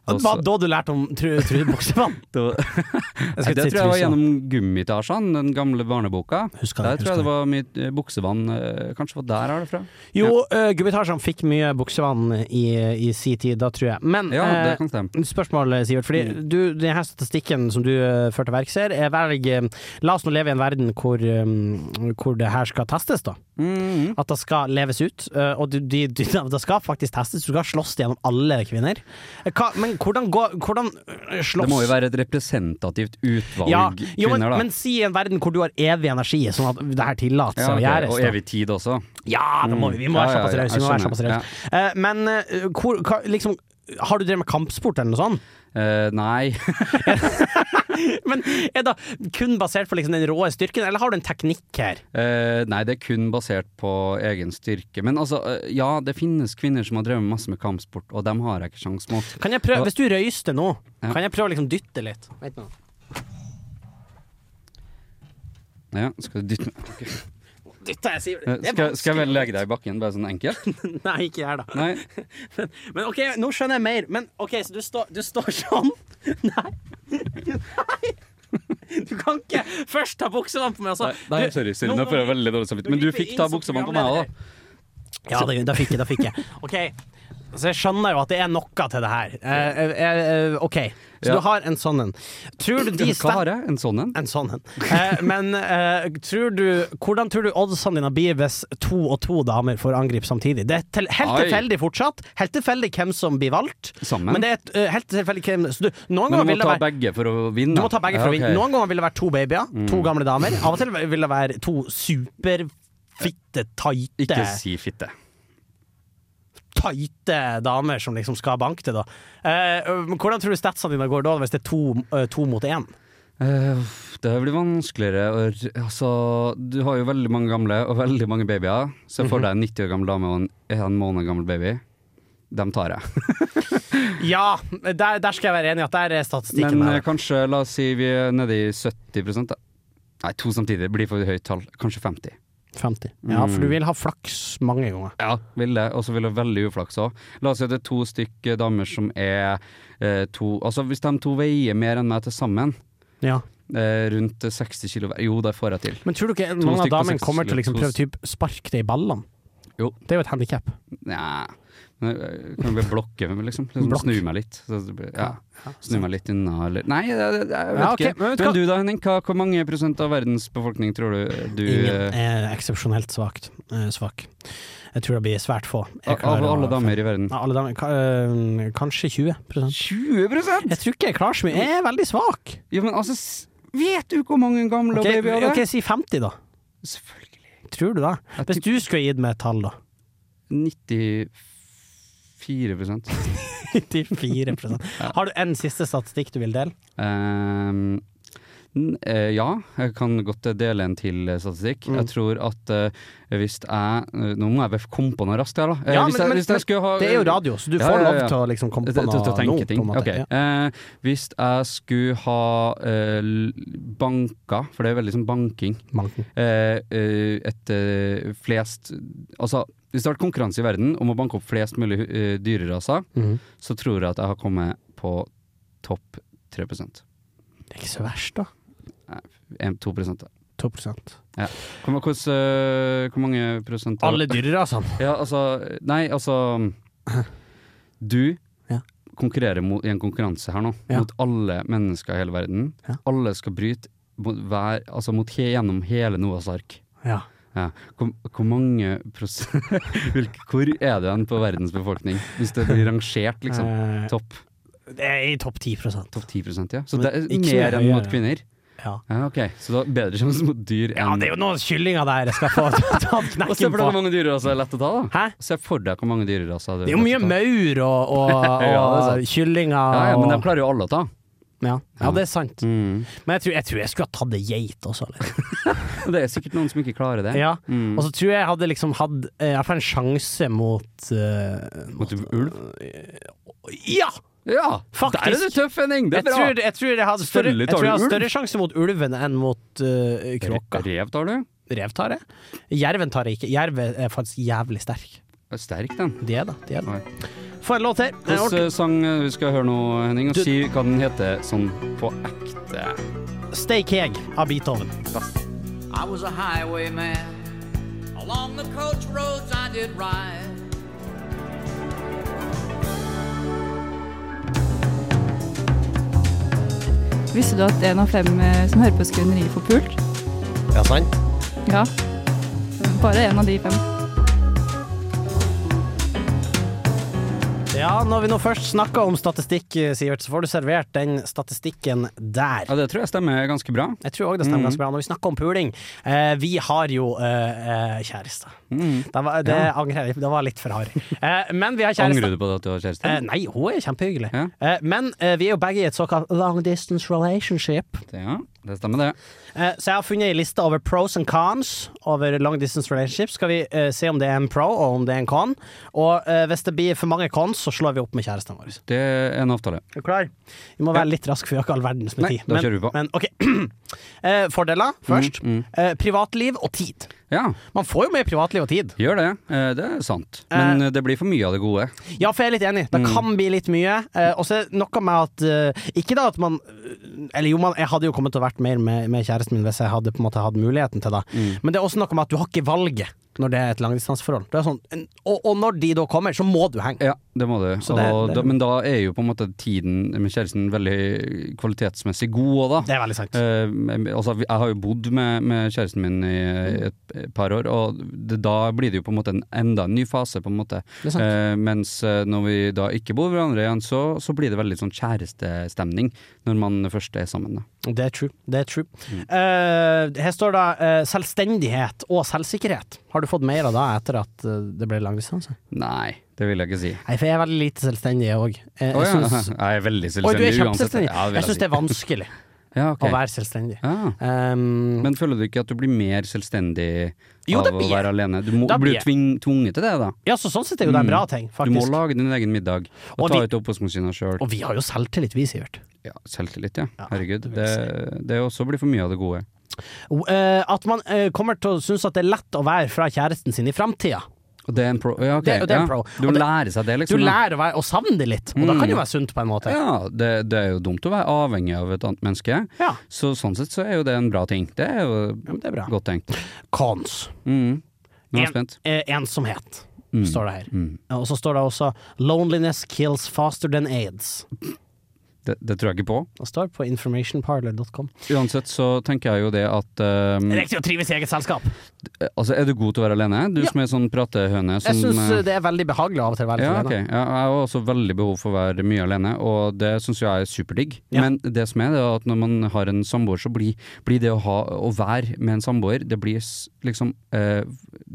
Speaker 4: Og
Speaker 3: Det var
Speaker 4: så-
Speaker 3: da du lærte om Tru- Trude Boksevann?
Speaker 4: det var-
Speaker 3: Jeg
Speaker 4: Nei,
Speaker 3: skulle
Speaker 4: det
Speaker 3: si
Speaker 4: tror jeg var
Speaker 3: Trusa.
Speaker 4: gjennom Gummitasjan, den gamle barneboka.
Speaker 3: Husker
Speaker 4: Der
Speaker 3: det.
Speaker 4: tror jeg
Speaker 3: Husker
Speaker 4: det
Speaker 3: det.
Speaker 4: var mye eh, buksevann. eh, Kanskje var der jeg har det fra.
Speaker 3: Jo, uh, Gubbitasjan fikk mye buksevann i, i si tid, da tror jeg. Men
Speaker 4: Ja,
Speaker 3: eh,
Speaker 4: det kan Mm. stemme.
Speaker 3: Spørsmål, Sivert. Fordi du, denne statistikken som du eh, fører til verks her, er velg eh, La oss nå leve i en verden hvor, eh, hvor det her skal testes, da.
Speaker 4: Mhm.
Speaker 3: At det skal leves ut. eh, Og du- de- de- det skal faktisk testes. Du skal slåss gjennom alle kvinner. Eh, Hva, men hvordan, går, hvordan eh, slåss
Speaker 4: Det må jo være et representativt utvalg
Speaker 3: ja, jo, men,
Speaker 4: kvinner, da.
Speaker 3: men si i en verden hvor du har evig energi, sånn at det her tillater seg
Speaker 4: ja, ok,
Speaker 3: å gjøres.
Speaker 4: Og
Speaker 3: da.
Speaker 4: evig tid også.
Speaker 3: Ja, da må vi, vi må være
Speaker 4: Ja, ja,
Speaker 3: såpass
Speaker 4: ja,
Speaker 3: rause. vi
Speaker 4: jeg
Speaker 3: må være
Speaker 4: skjønner,
Speaker 3: såpass rause. Eh, men eh, hvor, hva, liksom, har du drevet med kampsport eller noe sånt?
Speaker 4: Eh, nei.
Speaker 3: Men er det kun basert på liksom den råe styrken, eller har du en teknikk her?
Speaker 4: Eh, nei, det er kun basert på egen styrke. Men altså, eh, ja, det finnes kvinner som har drevet masse med kampsport, og dem har jeg ikke sjans mot.
Speaker 3: Kan jeg prøve, Hvis du røyster nå,
Speaker 4: Ja.
Speaker 3: kan jeg prøve å liksom dytte litt? Vent nå.
Speaker 4: Ja, skal du dytte meg? Ok.
Speaker 3: Dytter jeg, Sivert?
Speaker 4: Eh,
Speaker 3: Det er
Speaker 4: Skal, skal jeg vel legge deg i bakken, bare sånn enkelt?
Speaker 3: vanskelig. Nei, ikke her, da.
Speaker 4: Nei.
Speaker 3: Men OK, nå skjønner jeg mer. Men OK, så du står, du står sånn? Nei. Nei. Du kan ikke først ta buksene på meg, altså. og så
Speaker 4: Nei, nei, sorry, sorry.
Speaker 3: Nå
Speaker 4: Nå
Speaker 3: må
Speaker 4: får jeg
Speaker 3: vi-
Speaker 4: veldig dårlig samvittighet.
Speaker 3: Nå
Speaker 4: Men du
Speaker 3: griper vi
Speaker 4: fikk
Speaker 3: inn
Speaker 4: ta
Speaker 3: som
Speaker 4: buksene på meg òg, da.
Speaker 3: Ja, det, da fikk jeg, da fikk jeg. Altså- Ok, så jeg skjønner jo at det er noe til det her. Eh, eh, eh, ok, så
Speaker 4: Ja.
Speaker 3: du har en sånn en. Tror du de
Speaker 4: Hva har jeg? En sånn en?
Speaker 3: En sånn en. Eh, men eh, tror du, hvordan tror du oddsene dine blir hvis to og to damer får angripe samtidig? Det er til, helt
Speaker 4: Oi.
Speaker 3: tilfeldig fortsatt. Helt tilfeldig hvem som blir valgt.
Speaker 4: Sammen?
Speaker 3: Men det er et, eh, helt tilfeldig hvem så du, Noen
Speaker 4: Men du
Speaker 3: ganger
Speaker 4: må
Speaker 3: vil det
Speaker 4: ta
Speaker 3: være
Speaker 4: begge for å vinne.
Speaker 3: du må ta begge for å vinne.
Speaker 4: ok. Mm.
Speaker 3: Noen ganger vil det være to babyer, to gamle damer. Av og til vil det være to superfitte, tighte
Speaker 4: Ikke si fitte.
Speaker 3: tighte damer som liksom skal banke til, da. Eh, men hvordan tror du statsene dine går da, hvis det er to, eh, to mot én?
Speaker 4: Eh, uff, det blir vanskeligere å r- Altså, du har jo veldig mange gamle og veldig mange babyer. Se
Speaker 3: Mhm.
Speaker 4: for deg en 90 år gammel dame og en en måned gammel baby. Dem tar jeg.
Speaker 3: Ja, der, der skal jeg være enig i at der er statistikken.
Speaker 4: Men eh,
Speaker 3: her.
Speaker 4: kanskje, la oss si vi er nede i 70 da. Nei, to samtidig. Det blir for høyt tall. Kanskje 50.
Speaker 3: 50. Ja, for du vil ha flaks mange ganger.
Speaker 4: Ja, vil det. Og så vil det veldig uflaks òg. La oss si at det er to stykker damer som er eh, to Altså, hvis de to veier mer enn meg til sammen,
Speaker 3: Ja.
Speaker 4: eh, rundt eh, 60 kilo hver Jo, det får jeg til.
Speaker 3: Men tror du ikke mange av
Speaker 4: stykk på
Speaker 3: damene
Speaker 4: seks
Speaker 3: kommer til å liksom
Speaker 4: slett.
Speaker 3: prøve typ sparke det i ballene?
Speaker 4: Jo.
Speaker 3: Det er jo et handikap.
Speaker 4: Nja men jeg Kan bare blokke meg, liksom. liksom
Speaker 3: Blokk.
Speaker 4: Snu meg litt. Så, det blir- ja. Snu meg litt unna, eller Nei, jeg, jeg vet
Speaker 3: Ja, ok,
Speaker 4: ikke.
Speaker 3: men
Speaker 4: Men,
Speaker 3: vet du hva-
Speaker 4: du da, Henning? Hva, hvor mange prosent av verdens befolkning tror du du
Speaker 3: Ingen
Speaker 4: eh,
Speaker 3: er eksepsjonelt svakt. eh, svak. Jeg tror det blir svært få. Jeg
Speaker 4: Av
Speaker 3: klarer å-
Speaker 4: alle damer i verden?
Speaker 3: Ja, alle damer. Ka- eh, Kanskje 20
Speaker 4: 20
Speaker 3: Jeg tror ikke jeg klarer så mye. Jeg er veldig svak.
Speaker 4: Ja, men altså s- Vet du hvor mange gamle
Speaker 3: Ok,
Speaker 4: babyer det er?
Speaker 3: ok, si 50, da.
Speaker 4: Selvfølgelig.
Speaker 3: Tror du det?
Speaker 4: Jeg
Speaker 3: Hvis du skulle gitt meg et tall, da?
Speaker 4: 94
Speaker 3: 94 Har du en siste statistikk du vil dele?
Speaker 4: Ehm, n- eh, ja, jeg kan godt eh, dele en til eh, statistikk.
Speaker 3: Mm.
Speaker 4: Jeg tror at eh, hvis jeg eh, Nå må jeg bare komme på noe raskt her, da. Eh,
Speaker 3: Ja, men-
Speaker 4: hvis, jeg,
Speaker 3: men-
Speaker 4: hvis jeg skulle ha
Speaker 3: Det er jo radio, så du
Speaker 4: Ja,
Speaker 3: får
Speaker 4: ja,
Speaker 3: lov
Speaker 4: ja.
Speaker 3: til å liksom komme
Speaker 4: Til,
Speaker 3: på
Speaker 4: til,
Speaker 3: noe
Speaker 4: til å
Speaker 3: nå,
Speaker 4: tenke
Speaker 3: på en
Speaker 4: ting.
Speaker 3: måte.
Speaker 4: Ok.
Speaker 3: Ja.
Speaker 4: Eh, hvis jeg skulle ha eh, l- banka, for det er veldig sånn banking
Speaker 3: Manken.
Speaker 4: eh, eh, et eh, flest Altså, hvis det har vært konkurranse i verden om å banke opp flest mulig eh, dyreraser,
Speaker 3: Mhm.
Speaker 4: så tror jeg at jeg har kommet på topp 3
Speaker 3: Det er ikke så verst, da.
Speaker 4: 1-2 da.
Speaker 3: 2
Speaker 4: Hvor, ma- hvordan, øh, hvor mange prosent av-
Speaker 3: Alle dyrerasene.
Speaker 4: Ja, altså Nei, altså Du
Speaker 3: Ja.
Speaker 4: konkurrerer mot, i en konkurranse her nå,
Speaker 3: Ja.
Speaker 4: mot alle mennesker i hele verden.
Speaker 3: Ja.
Speaker 4: Alle skal bryte mot hver, altså mot he, gjennom hele Noas ark.
Speaker 3: Ja.
Speaker 4: Ja. Hvor, hvor mange prosent hvilke, Hvor er du hen på verdens befolkning, hvis det blir rangert, liksom?
Speaker 3: Eh,
Speaker 4: Topp
Speaker 3: det er i topp 10
Speaker 4: top 10 ja. Så
Speaker 3: Men
Speaker 4: det er
Speaker 3: ikke så
Speaker 4: mer enn
Speaker 3: mye
Speaker 4: mot
Speaker 3: høyere.
Speaker 4: kvinner?
Speaker 3: Ja.
Speaker 4: Ja, ok. Så da bedre sjanse mot dyr
Speaker 3: ja,
Speaker 4: enn
Speaker 3: det er jo noen kyllinger der jeg skal få tatt
Speaker 4: Og se
Speaker 3: knekken
Speaker 4: for deg hvor
Speaker 3: på.
Speaker 4: mange dyreraser er lett å ta, da.
Speaker 3: Hæ?
Speaker 4: Se for deg hvor mange dyreraser
Speaker 3: Det er jo mye maur og, og, og
Speaker 4: Ja, det er sant.
Speaker 3: kyllinger
Speaker 4: Ja, ja, men de
Speaker 3: og
Speaker 4: klarer jo alle å ta.
Speaker 3: Ja. ja, det er sant.
Speaker 4: Mm.
Speaker 3: Men jeg tror jeg, tror jeg skulle ha tatt ei geit også. Eller?
Speaker 4: Det er sikkert noen som ikke klarer det.
Speaker 3: Ja.
Speaker 4: Mm.
Speaker 3: Og så tror jeg jeg hadde liksom hatt eh, Jeg får en sjanse mot eh,
Speaker 4: Mot ulv?
Speaker 3: Ja!
Speaker 4: Ja!
Speaker 3: Faktisk.
Speaker 4: Der er du tøff, Henning! Det
Speaker 3: Jeg
Speaker 4: er bra!
Speaker 3: tror, jeg tror jeg hadde større,
Speaker 4: Selvfølgelig
Speaker 3: jeg
Speaker 4: tar
Speaker 3: tror
Speaker 4: du
Speaker 3: jeg hadde
Speaker 4: ulv.
Speaker 3: større sjanse mot ulven enn mot eh, kråka.
Speaker 4: Rev tar du.
Speaker 3: Rev tar jeg. Jerven tar jeg ikke. Jerv er faktisk jævlig sterk.
Speaker 4: Det er Sterk, den.
Speaker 3: De er det. De er
Speaker 4: Nei.
Speaker 3: det. Få en låt til. Det er
Speaker 4: Hvilken eh, sang eh, vi skal høre nå, Henning? Og
Speaker 3: Du-
Speaker 4: si hva den heter sånn på ekte.
Speaker 3: ordentlig. Stay Keg av Beethoven.
Speaker 9: I was a highwayman. Along the coach roads I did ride.
Speaker 6: Visste du at en av fem eh, som hører på Skrøneriet, får pult?
Speaker 3: Ja, sant?
Speaker 6: Ja. Bare en av de fem.
Speaker 3: Ja, når vi nå først snakker om statistikk, eh, Sivert, så får du servert den statistikken der.
Speaker 4: Ja, det tror jeg stemmer ganske bra.
Speaker 3: Jeg tror òg det
Speaker 4: Mm.
Speaker 3: stemmer ganske bra. Når vi snakker om puling eh, Vi har jo eh, eh, kjæreste.
Speaker 4: Mm.
Speaker 3: Det, var, det angrer jeg Det var litt for hard. Eh, men vi har kjæreste.
Speaker 4: Angrer du på at du har kjæreste?
Speaker 3: Eh, nei, hun er kjempehyggelig.
Speaker 4: Ja.
Speaker 3: Eh, men eh, vi er jo begge i et såkalt long distance relationship.
Speaker 4: Ja, det stemmer, det.
Speaker 3: Eh, så jeg har funnet ei liste over pros and cons over long distance relationship. Skal vi eh, se om det er en pro og om det er en con. Og eh, hvis det blir for mange cons, så slår vi opp med kjæresten vår.
Speaker 4: Det er en avtale.
Speaker 3: Er du klar? Vi må være litt raske, for vi har ikke all verdens med
Speaker 4: Nei,
Speaker 3: tid.
Speaker 4: da kjører vi på. Mm,
Speaker 3: men ok. Eh, fordeler først. Eh, privatliv og tid.
Speaker 4: Ja,
Speaker 3: Man får jo mer privatliv og tid.
Speaker 4: gjør det. Eh, Det er sant. Men eh, det blir for mye av det gode.
Speaker 3: Ja, for jeg er litt enig. Det kan bli litt mye. Eh, og så er det noe med at eh, Ikke da at man Eller jo, man, jeg hadde jo kommet til å vært mer med, med kjæresten min hvis jeg hadde på en måte hatt muligheten til det. Men det er også noe med at du har ikke valget når det er et langdistanseforhold. Du er sånn, en- og, og når de da kommer, så må du henge.
Speaker 4: Ja, det må du.
Speaker 3: Så det-
Speaker 4: Og
Speaker 3: det-
Speaker 4: da, men da er jo på en måte tiden med kjæresten veldig kvalitetsmessig god òg, da.
Speaker 3: Det er veldig sant.
Speaker 4: Eh, altså, jeg har jo bodd med, med kjæresten min i
Speaker 3: Mm.
Speaker 4: et par år, og det, da blir det jo på en måte en enda en ny fase, på en måte.
Speaker 3: Det er sant.
Speaker 4: Eh, mens eh, når vi da ikke bor hverandre igjen, så, så blir det veldig sånn kjærestestemning når man først er sammen. Da.
Speaker 3: Det er true. Det er true. Eh, her står da eh, selvstendighet og selvsikkerhet. Har du fått mer av det etter at eh, det ble langdistanse?
Speaker 4: Nei, det vil jeg ikke si.
Speaker 3: Nei, for jeg er veldig lite selvstendig, jeg òg. Jeg,
Speaker 4: Å
Speaker 3: jeg
Speaker 4: ja,
Speaker 3: syns
Speaker 4: jeg er
Speaker 3: Oi, du er
Speaker 4: veldig selvstendig uansett.
Speaker 3: kjempeselvstendig.
Speaker 4: Ja,
Speaker 3: jeg
Speaker 4: vil
Speaker 3: syns det er vanskelig
Speaker 4: Ja, ok.
Speaker 3: å være selvstendig.
Speaker 4: Ja.
Speaker 3: Um,
Speaker 4: Men føler du ikke at du blir mer selvstendig
Speaker 3: Jo,
Speaker 4: av
Speaker 3: det
Speaker 4: å
Speaker 3: blir jeg.
Speaker 4: være alene? Du må,
Speaker 3: Da blir
Speaker 4: blir
Speaker 3: jeg.
Speaker 4: jo tving, tvunget til det, da.
Speaker 3: ja, så sånn sett er jo det en bra ting,
Speaker 4: Mm. Du må
Speaker 3: faktisk.
Speaker 4: lage din egen middag og,
Speaker 3: Og
Speaker 4: ta
Speaker 3: vi-
Speaker 4: ut oppvaskmaskina sjøl.
Speaker 3: Og vi har jo selvtillit, vi, Sivert.
Speaker 4: Ja, selvtillit, ja.
Speaker 3: Ja,
Speaker 4: Herregud.
Speaker 3: det vil
Speaker 4: Det, det også blir for mye av det gode.
Speaker 3: Eh, at man eh, kommer til å synes at det er lett å være fra kjæresten sin i framtida.
Speaker 4: Og det er en pro. Ja, ok.
Speaker 3: Det- og det er en
Speaker 4: ja.
Speaker 3: pro.
Speaker 4: Du
Speaker 3: Og
Speaker 4: må
Speaker 3: det-
Speaker 4: lære seg det,
Speaker 3: Du
Speaker 4: liksom. da.
Speaker 3: lærer å, være, å savne det litt, og da kan det jo være sunt, på en måte.
Speaker 4: Mm. Ja, det, det er jo dumt å være avhengig av et annet menneske.
Speaker 3: Ja.
Speaker 4: Så sånn sett så er jo det en bra ting. Det er jo
Speaker 3: men det er bra.
Speaker 4: godt tenkt.
Speaker 3: Cons.
Speaker 4: Mm. Nå er jeg
Speaker 3: En-
Speaker 4: spent.
Speaker 3: Eh, ensomhet,
Speaker 4: Mm.
Speaker 3: står det her.
Speaker 4: Mm.
Speaker 3: Og så står det også 'Loneliness kills faster than aids'.
Speaker 4: Det, det tror jeg ikke på.
Speaker 3: Det står på informationparlor.com.
Speaker 4: Uansett så tenker jeg jo det at ehm,
Speaker 3: Riktig å trives i eget selskap.
Speaker 4: Altså, er du god til å være alene? Du
Speaker 3: Ja.
Speaker 4: som er sånn pratehøne som
Speaker 3: Jeg syns
Speaker 4: eh,
Speaker 3: det er veldig behagelig av og til å være litt
Speaker 4: ja,
Speaker 3: alene.
Speaker 4: ok. ja, jeg har også veldig behov for å være mye alene, og det syns jeg er superdigg.
Speaker 3: Ja.
Speaker 4: Men det som er, det er at når man har en samboer, så blir, blir det å, ha, å være med en samboer Det blir s- liksom eh,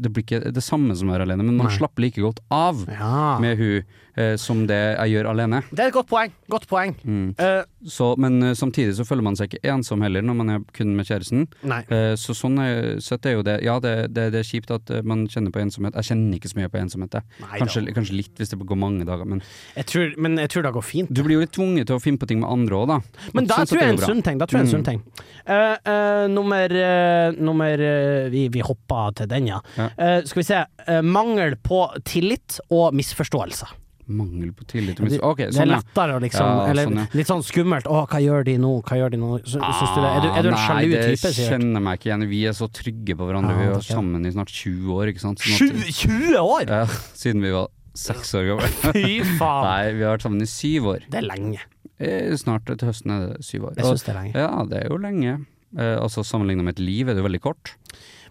Speaker 4: Det blir ikke det samme som å være alene, men man
Speaker 3: Nei.
Speaker 4: slapper like godt av
Speaker 3: Ja.
Speaker 4: med hun eh, som det jeg gjør alene.
Speaker 3: Det er et godt poeng. Godt poeng.
Speaker 4: Mm.
Speaker 3: Eh,
Speaker 4: Så, men eh, samtidig så føler man seg ikke ensom heller når man er kun med kjæresten.
Speaker 3: nei.
Speaker 4: Eh, Så sånn er, sett er jo det Ja, det, det, det er kjipt at eh, man kjenner på ensomhet. Jeg kjenner ikke så mye på ensomhet, jeg.
Speaker 3: Nei da.
Speaker 4: Kanskje, kanskje litt hvis det går mange dager, men
Speaker 3: Jeg tror, men jeg tror det går fint.
Speaker 4: du blir jo litt tvunget til å finne på ting med andre òg, da.
Speaker 3: Men da
Speaker 4: Sånn sett
Speaker 3: tror jeg
Speaker 4: er
Speaker 3: en
Speaker 4: det bra.
Speaker 3: sunn ting. Da tror jeg en
Speaker 4: Mm.
Speaker 3: sunn ting. Eh, eh, nummer eh, nummer eh, vi, vi hoppa til den, ja.
Speaker 4: Ja.
Speaker 3: Eh, skal vi se. Eh, mangel på tillit og misforståelse.
Speaker 4: Mangel på tillit og
Speaker 3: Det,
Speaker 4: mis... Ok,
Speaker 3: det er
Speaker 4: sånn, ja.
Speaker 3: lettere å liksom
Speaker 4: Ja,
Speaker 3: Eller
Speaker 4: sånn, ja.
Speaker 3: litt sånn skummelt. Å, hva gjør de nå? Hva gjør de nå? Sy- Syns du det? Er du, er du en
Speaker 4: Ah,
Speaker 3: sjalu
Speaker 4: Nei,
Speaker 3: type,
Speaker 4: det
Speaker 3: Sivert?
Speaker 4: kjenner meg ikke igjen. Vi er så trygge på hverandre.
Speaker 3: Ah,
Speaker 4: vi har
Speaker 3: takk,
Speaker 4: vært
Speaker 3: ja.
Speaker 4: sammen i snart 20 år, ikke sant? Sånn at-
Speaker 3: 20, 20 år?!
Speaker 4: Ja, siden vi var seks år gamle.
Speaker 3: Fy faen!
Speaker 4: Nei, vi har vært sammen i syv år.
Speaker 3: Det er lenge.
Speaker 4: Eh, Snart til høsten er det syv år.
Speaker 3: Jeg syns det er lenge.
Speaker 4: Ja, det er jo lenge. Eh, altså Sammenligna med et liv er det jo veldig kort.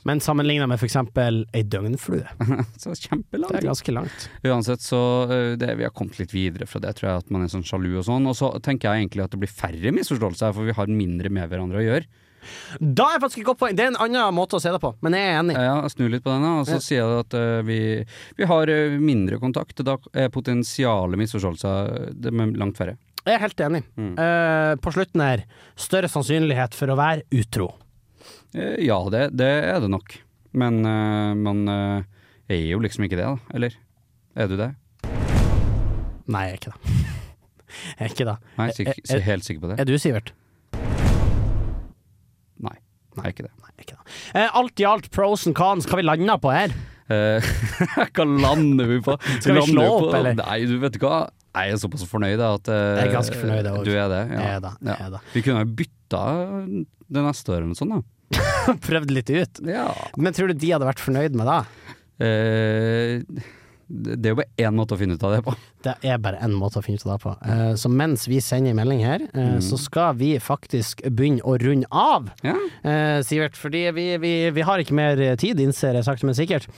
Speaker 3: Men sammenligna med for eksempel ei døgnflue,
Speaker 4: Så kjempelang
Speaker 3: det er
Speaker 4: tid.
Speaker 3: ganske langt.
Speaker 4: Uansett så eh, det, vi har kommet litt videre fra det, tror jeg, at man er sånn sjalu og sånn. Og så tenker jeg egentlig at det blir færre misforståelser, her, for vi har mindre med hverandre å gjøre.
Speaker 3: Da er faktisk et godt poeng! Det er en annen måte å se det på, men jeg er enig.
Speaker 4: Eh, Ja, jeg snur litt på den, da, og så sier jeg at eh, vi, vi har eh, mindre kontakt. Da er potensiale misforståelser eh, det er langt færre.
Speaker 3: Jeg er helt enig. Eh, på slutten her, større sannsynlighet for å være utro.
Speaker 4: Eh, Ja, det, det er det nok. Men eh, man eh, er jo liksom ikke det, da. Eller? Er du det?
Speaker 3: Nei, jeg er ikke det. Jeg er ikke det.
Speaker 4: Nei, sik
Speaker 3: Eh, eh,
Speaker 4: helt sikker på det?
Speaker 3: Er du, Sivert?
Speaker 4: Nei, jeg er ikke det.
Speaker 3: Nei, jeg er ikke det. Eh, alt i alt, pros and cons, hva vi landa på her?
Speaker 4: Eh, hva lander vi på?
Speaker 3: Skal vi
Speaker 4: Lander
Speaker 3: slå
Speaker 4: på-
Speaker 3: opp, eller?
Speaker 4: Nei, du vet ikke hva. Jeg er såpass fornøyd da, at eh,
Speaker 3: Jeg er ganske fornøyd, jeg også.
Speaker 4: Du er det? Ja.
Speaker 3: Jeg er det, jeg er det.
Speaker 4: Vi kunne ha bytta det neste året eller noe sånt,
Speaker 3: Prøvd litt ut.
Speaker 4: da. Ja.
Speaker 3: Men tror du de hadde vært fornøyd med det?
Speaker 4: Eh, det det er jo bare én måte å finne ut av det på.
Speaker 3: Det er bare én måte å finne ut av det på. Eh, Så mens vi sender melding her, eh, så skal vi faktisk begynne å runde av,
Speaker 4: Ja.
Speaker 3: eh, Sivert. Fordi vi, vi, vi har ikke mer tid, innser jeg sakte, men sikkert.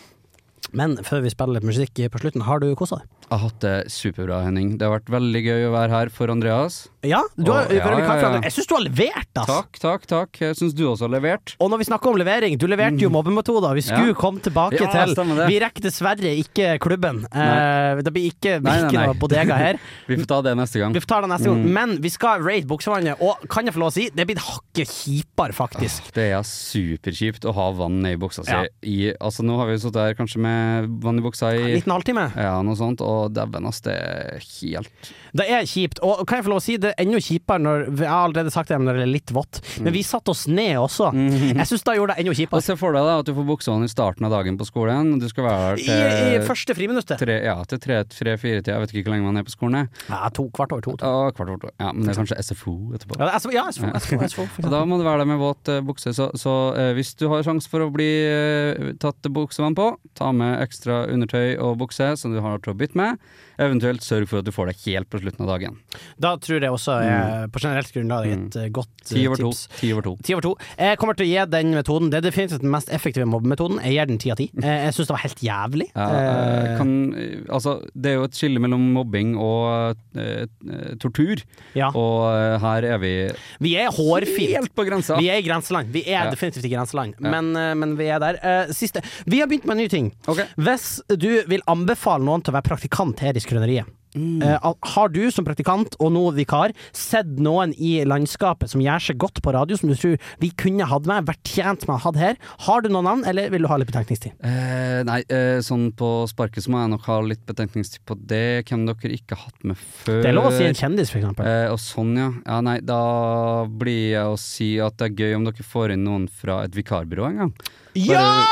Speaker 3: Men før vi spiller litt musikk på slutten, har du kosa deg?
Speaker 4: Jeg har hatt det superbra, Henning. Det har vært veldig gøy å være her for Andreas.
Speaker 3: Ja, du har,
Speaker 4: Å, ja,
Speaker 3: Veronica
Speaker 4: ja, ja.
Speaker 3: Kaffe, jeg syns du har levert, ass!
Speaker 4: Takk, takk, takk. Jeg syns du også har levert.
Speaker 3: Og når vi snakker om levering, du leverte jo mobbemetoder. Vi skulle
Speaker 4: Mm. Ja.
Speaker 3: komme tilbake
Speaker 4: Ja,
Speaker 3: til
Speaker 4: stemmer det.
Speaker 3: Vi rekker dessverre ikke klubben.
Speaker 4: Nei.
Speaker 3: Eh, det blir ikke,
Speaker 4: Nei, nei,
Speaker 3: ikke
Speaker 4: nei. Mm.
Speaker 3: noe bodega her.
Speaker 4: Vi får ta det neste gang.
Speaker 3: Vi får ta det neste gang. Men vi skal rate Buksevannet, og kan jeg få lov å si, det er blitt hakket kjipere, faktisk.
Speaker 4: Det er superkjipt å ha vann i buksa si.
Speaker 3: Ja.
Speaker 4: I, altså, nå har vi sittet her kanskje med vann i buksa i
Speaker 3: En liten halvtime.
Speaker 4: ja, noe sånt, og dæven, ass, det er helt
Speaker 3: Det er kjipt, og kan jeg få lov å si det er enda kjipere når Jeg har allerede sagt det, men når det er litt vått.
Speaker 4: Mm.
Speaker 3: Men vi satte oss ned også. Jeg syns det gjorde det enda
Speaker 4: Og
Speaker 3: kjipere.
Speaker 4: se for deg da at du får buksevann i starten av dagen på skolen. Du skal være
Speaker 3: I, I
Speaker 4: der til
Speaker 3: første friminuttet.
Speaker 4: tre, ja, til tre-fire tida, jeg vet ikke hvor lenge man er på skolen. jeg.
Speaker 3: Ja, to, kvart over to. to.
Speaker 4: Og kvart over to. Ja, men det er kanskje SFO etterpå.
Speaker 3: Ja, jeg så- ja, jeg så- jeg så- jeg så- for
Speaker 4: Så da må du være der med våt eh, bukse. Så, så eh, hvis du har sjanse for å bli eh, tatt buksevann på, ta med ekstra undertøy og bukse som du har til å bytte med. Eventuelt sørg for at du får det helt på slutten av dagen.
Speaker 3: eksempel. Da tror jeg også, eh, på generelt grunnlag, et eh, godt eh,
Speaker 4: Mm. Ti over to.
Speaker 3: tips.
Speaker 4: Ti over to.
Speaker 3: Ti over to. Jeg kommer til å gi den metoden. Det er definitivt den mest effektive mobbemetoden. Jeg gir den ti av ti. Eh, Jeg syns det var helt jævlig.
Speaker 4: Ja,
Speaker 3: Eh,
Speaker 4: eh, kan, eh, altså, det er jo et skille mellom mobbing og eh, eh, tortur,
Speaker 3: ja.
Speaker 4: og eh, her er vi
Speaker 3: Vi er hårfint.
Speaker 4: helt på grensa.
Speaker 3: Vi er i grenseland. Vi er
Speaker 4: Ja.
Speaker 3: definitivt i grenseland, men, eh, men vi er der. Eh, siste. Vi har begynt med en ny ting.
Speaker 4: Ok.
Speaker 3: Hvis du vil anbefale noen til å være praktikant her i Skrøneriet, eh, al- har du som praktikant og nå vikar sett noen i landskapet som gjør seg godt på radio, som du tror vi kunne hatt med, vært tjent med å ha hatt her? Har du noen navn, eller vil du ha litt betenkningstid?
Speaker 4: Eh, nei, eh, sånn på sparket så må jeg nok ha litt betenkningstid på det. Hvem dere ikke har hatt med før.
Speaker 3: Det er lov å si en kjendis, for eksempel.
Speaker 4: Eh, og sånn, ja. ja. Nei, da blir jeg å si at det er gøy om dere får inn noen fra et vikarbyrå en gang.
Speaker 3: Ja!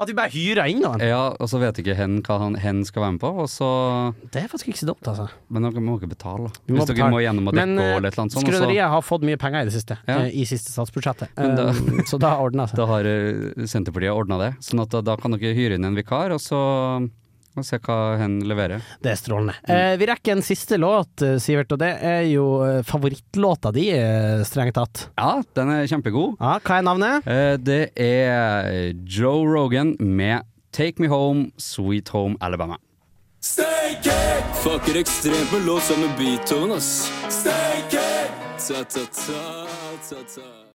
Speaker 3: At vi bare hyrer inn noen!
Speaker 4: Ja, og så vet ikke hen hva han, hen skal være med på, og så
Speaker 3: Det er faktisk ikke så dumt, altså.
Speaker 4: Men dere må ikke betale, da.
Speaker 3: Vi må
Speaker 4: Hvis dere
Speaker 3: betale.
Speaker 4: må gjennom og dekke
Speaker 3: Men, eh,
Speaker 4: og et eller annet sånt. og
Speaker 3: Skrøneriet har fått mye penger i det siste,
Speaker 4: Ja.
Speaker 3: eh, i siste statsbudsjettet.
Speaker 4: Men da-
Speaker 3: Eh, så da ordner det seg.
Speaker 4: Så, da har eh, Senterpartiet ordna det, sånn at da, da kan dere hyre inn en vikar, og så og se hva hen leverer.
Speaker 3: Det er strålende. Eh, vi rekker en siste låt, eh, Sivert, og det er jo eh, favorittlåta di, eh, strengt tatt.
Speaker 4: Ja, den er kjempegod.
Speaker 3: Ja, hva er navnet?
Speaker 4: Eh, det er Joe Rogan med 'Take Me Home, Sweet Home Alabama'.
Speaker 10: Fucker ekstremt med låt sammen med Beethoven, ass. Steike! Ta-ta-ta, ta-ta.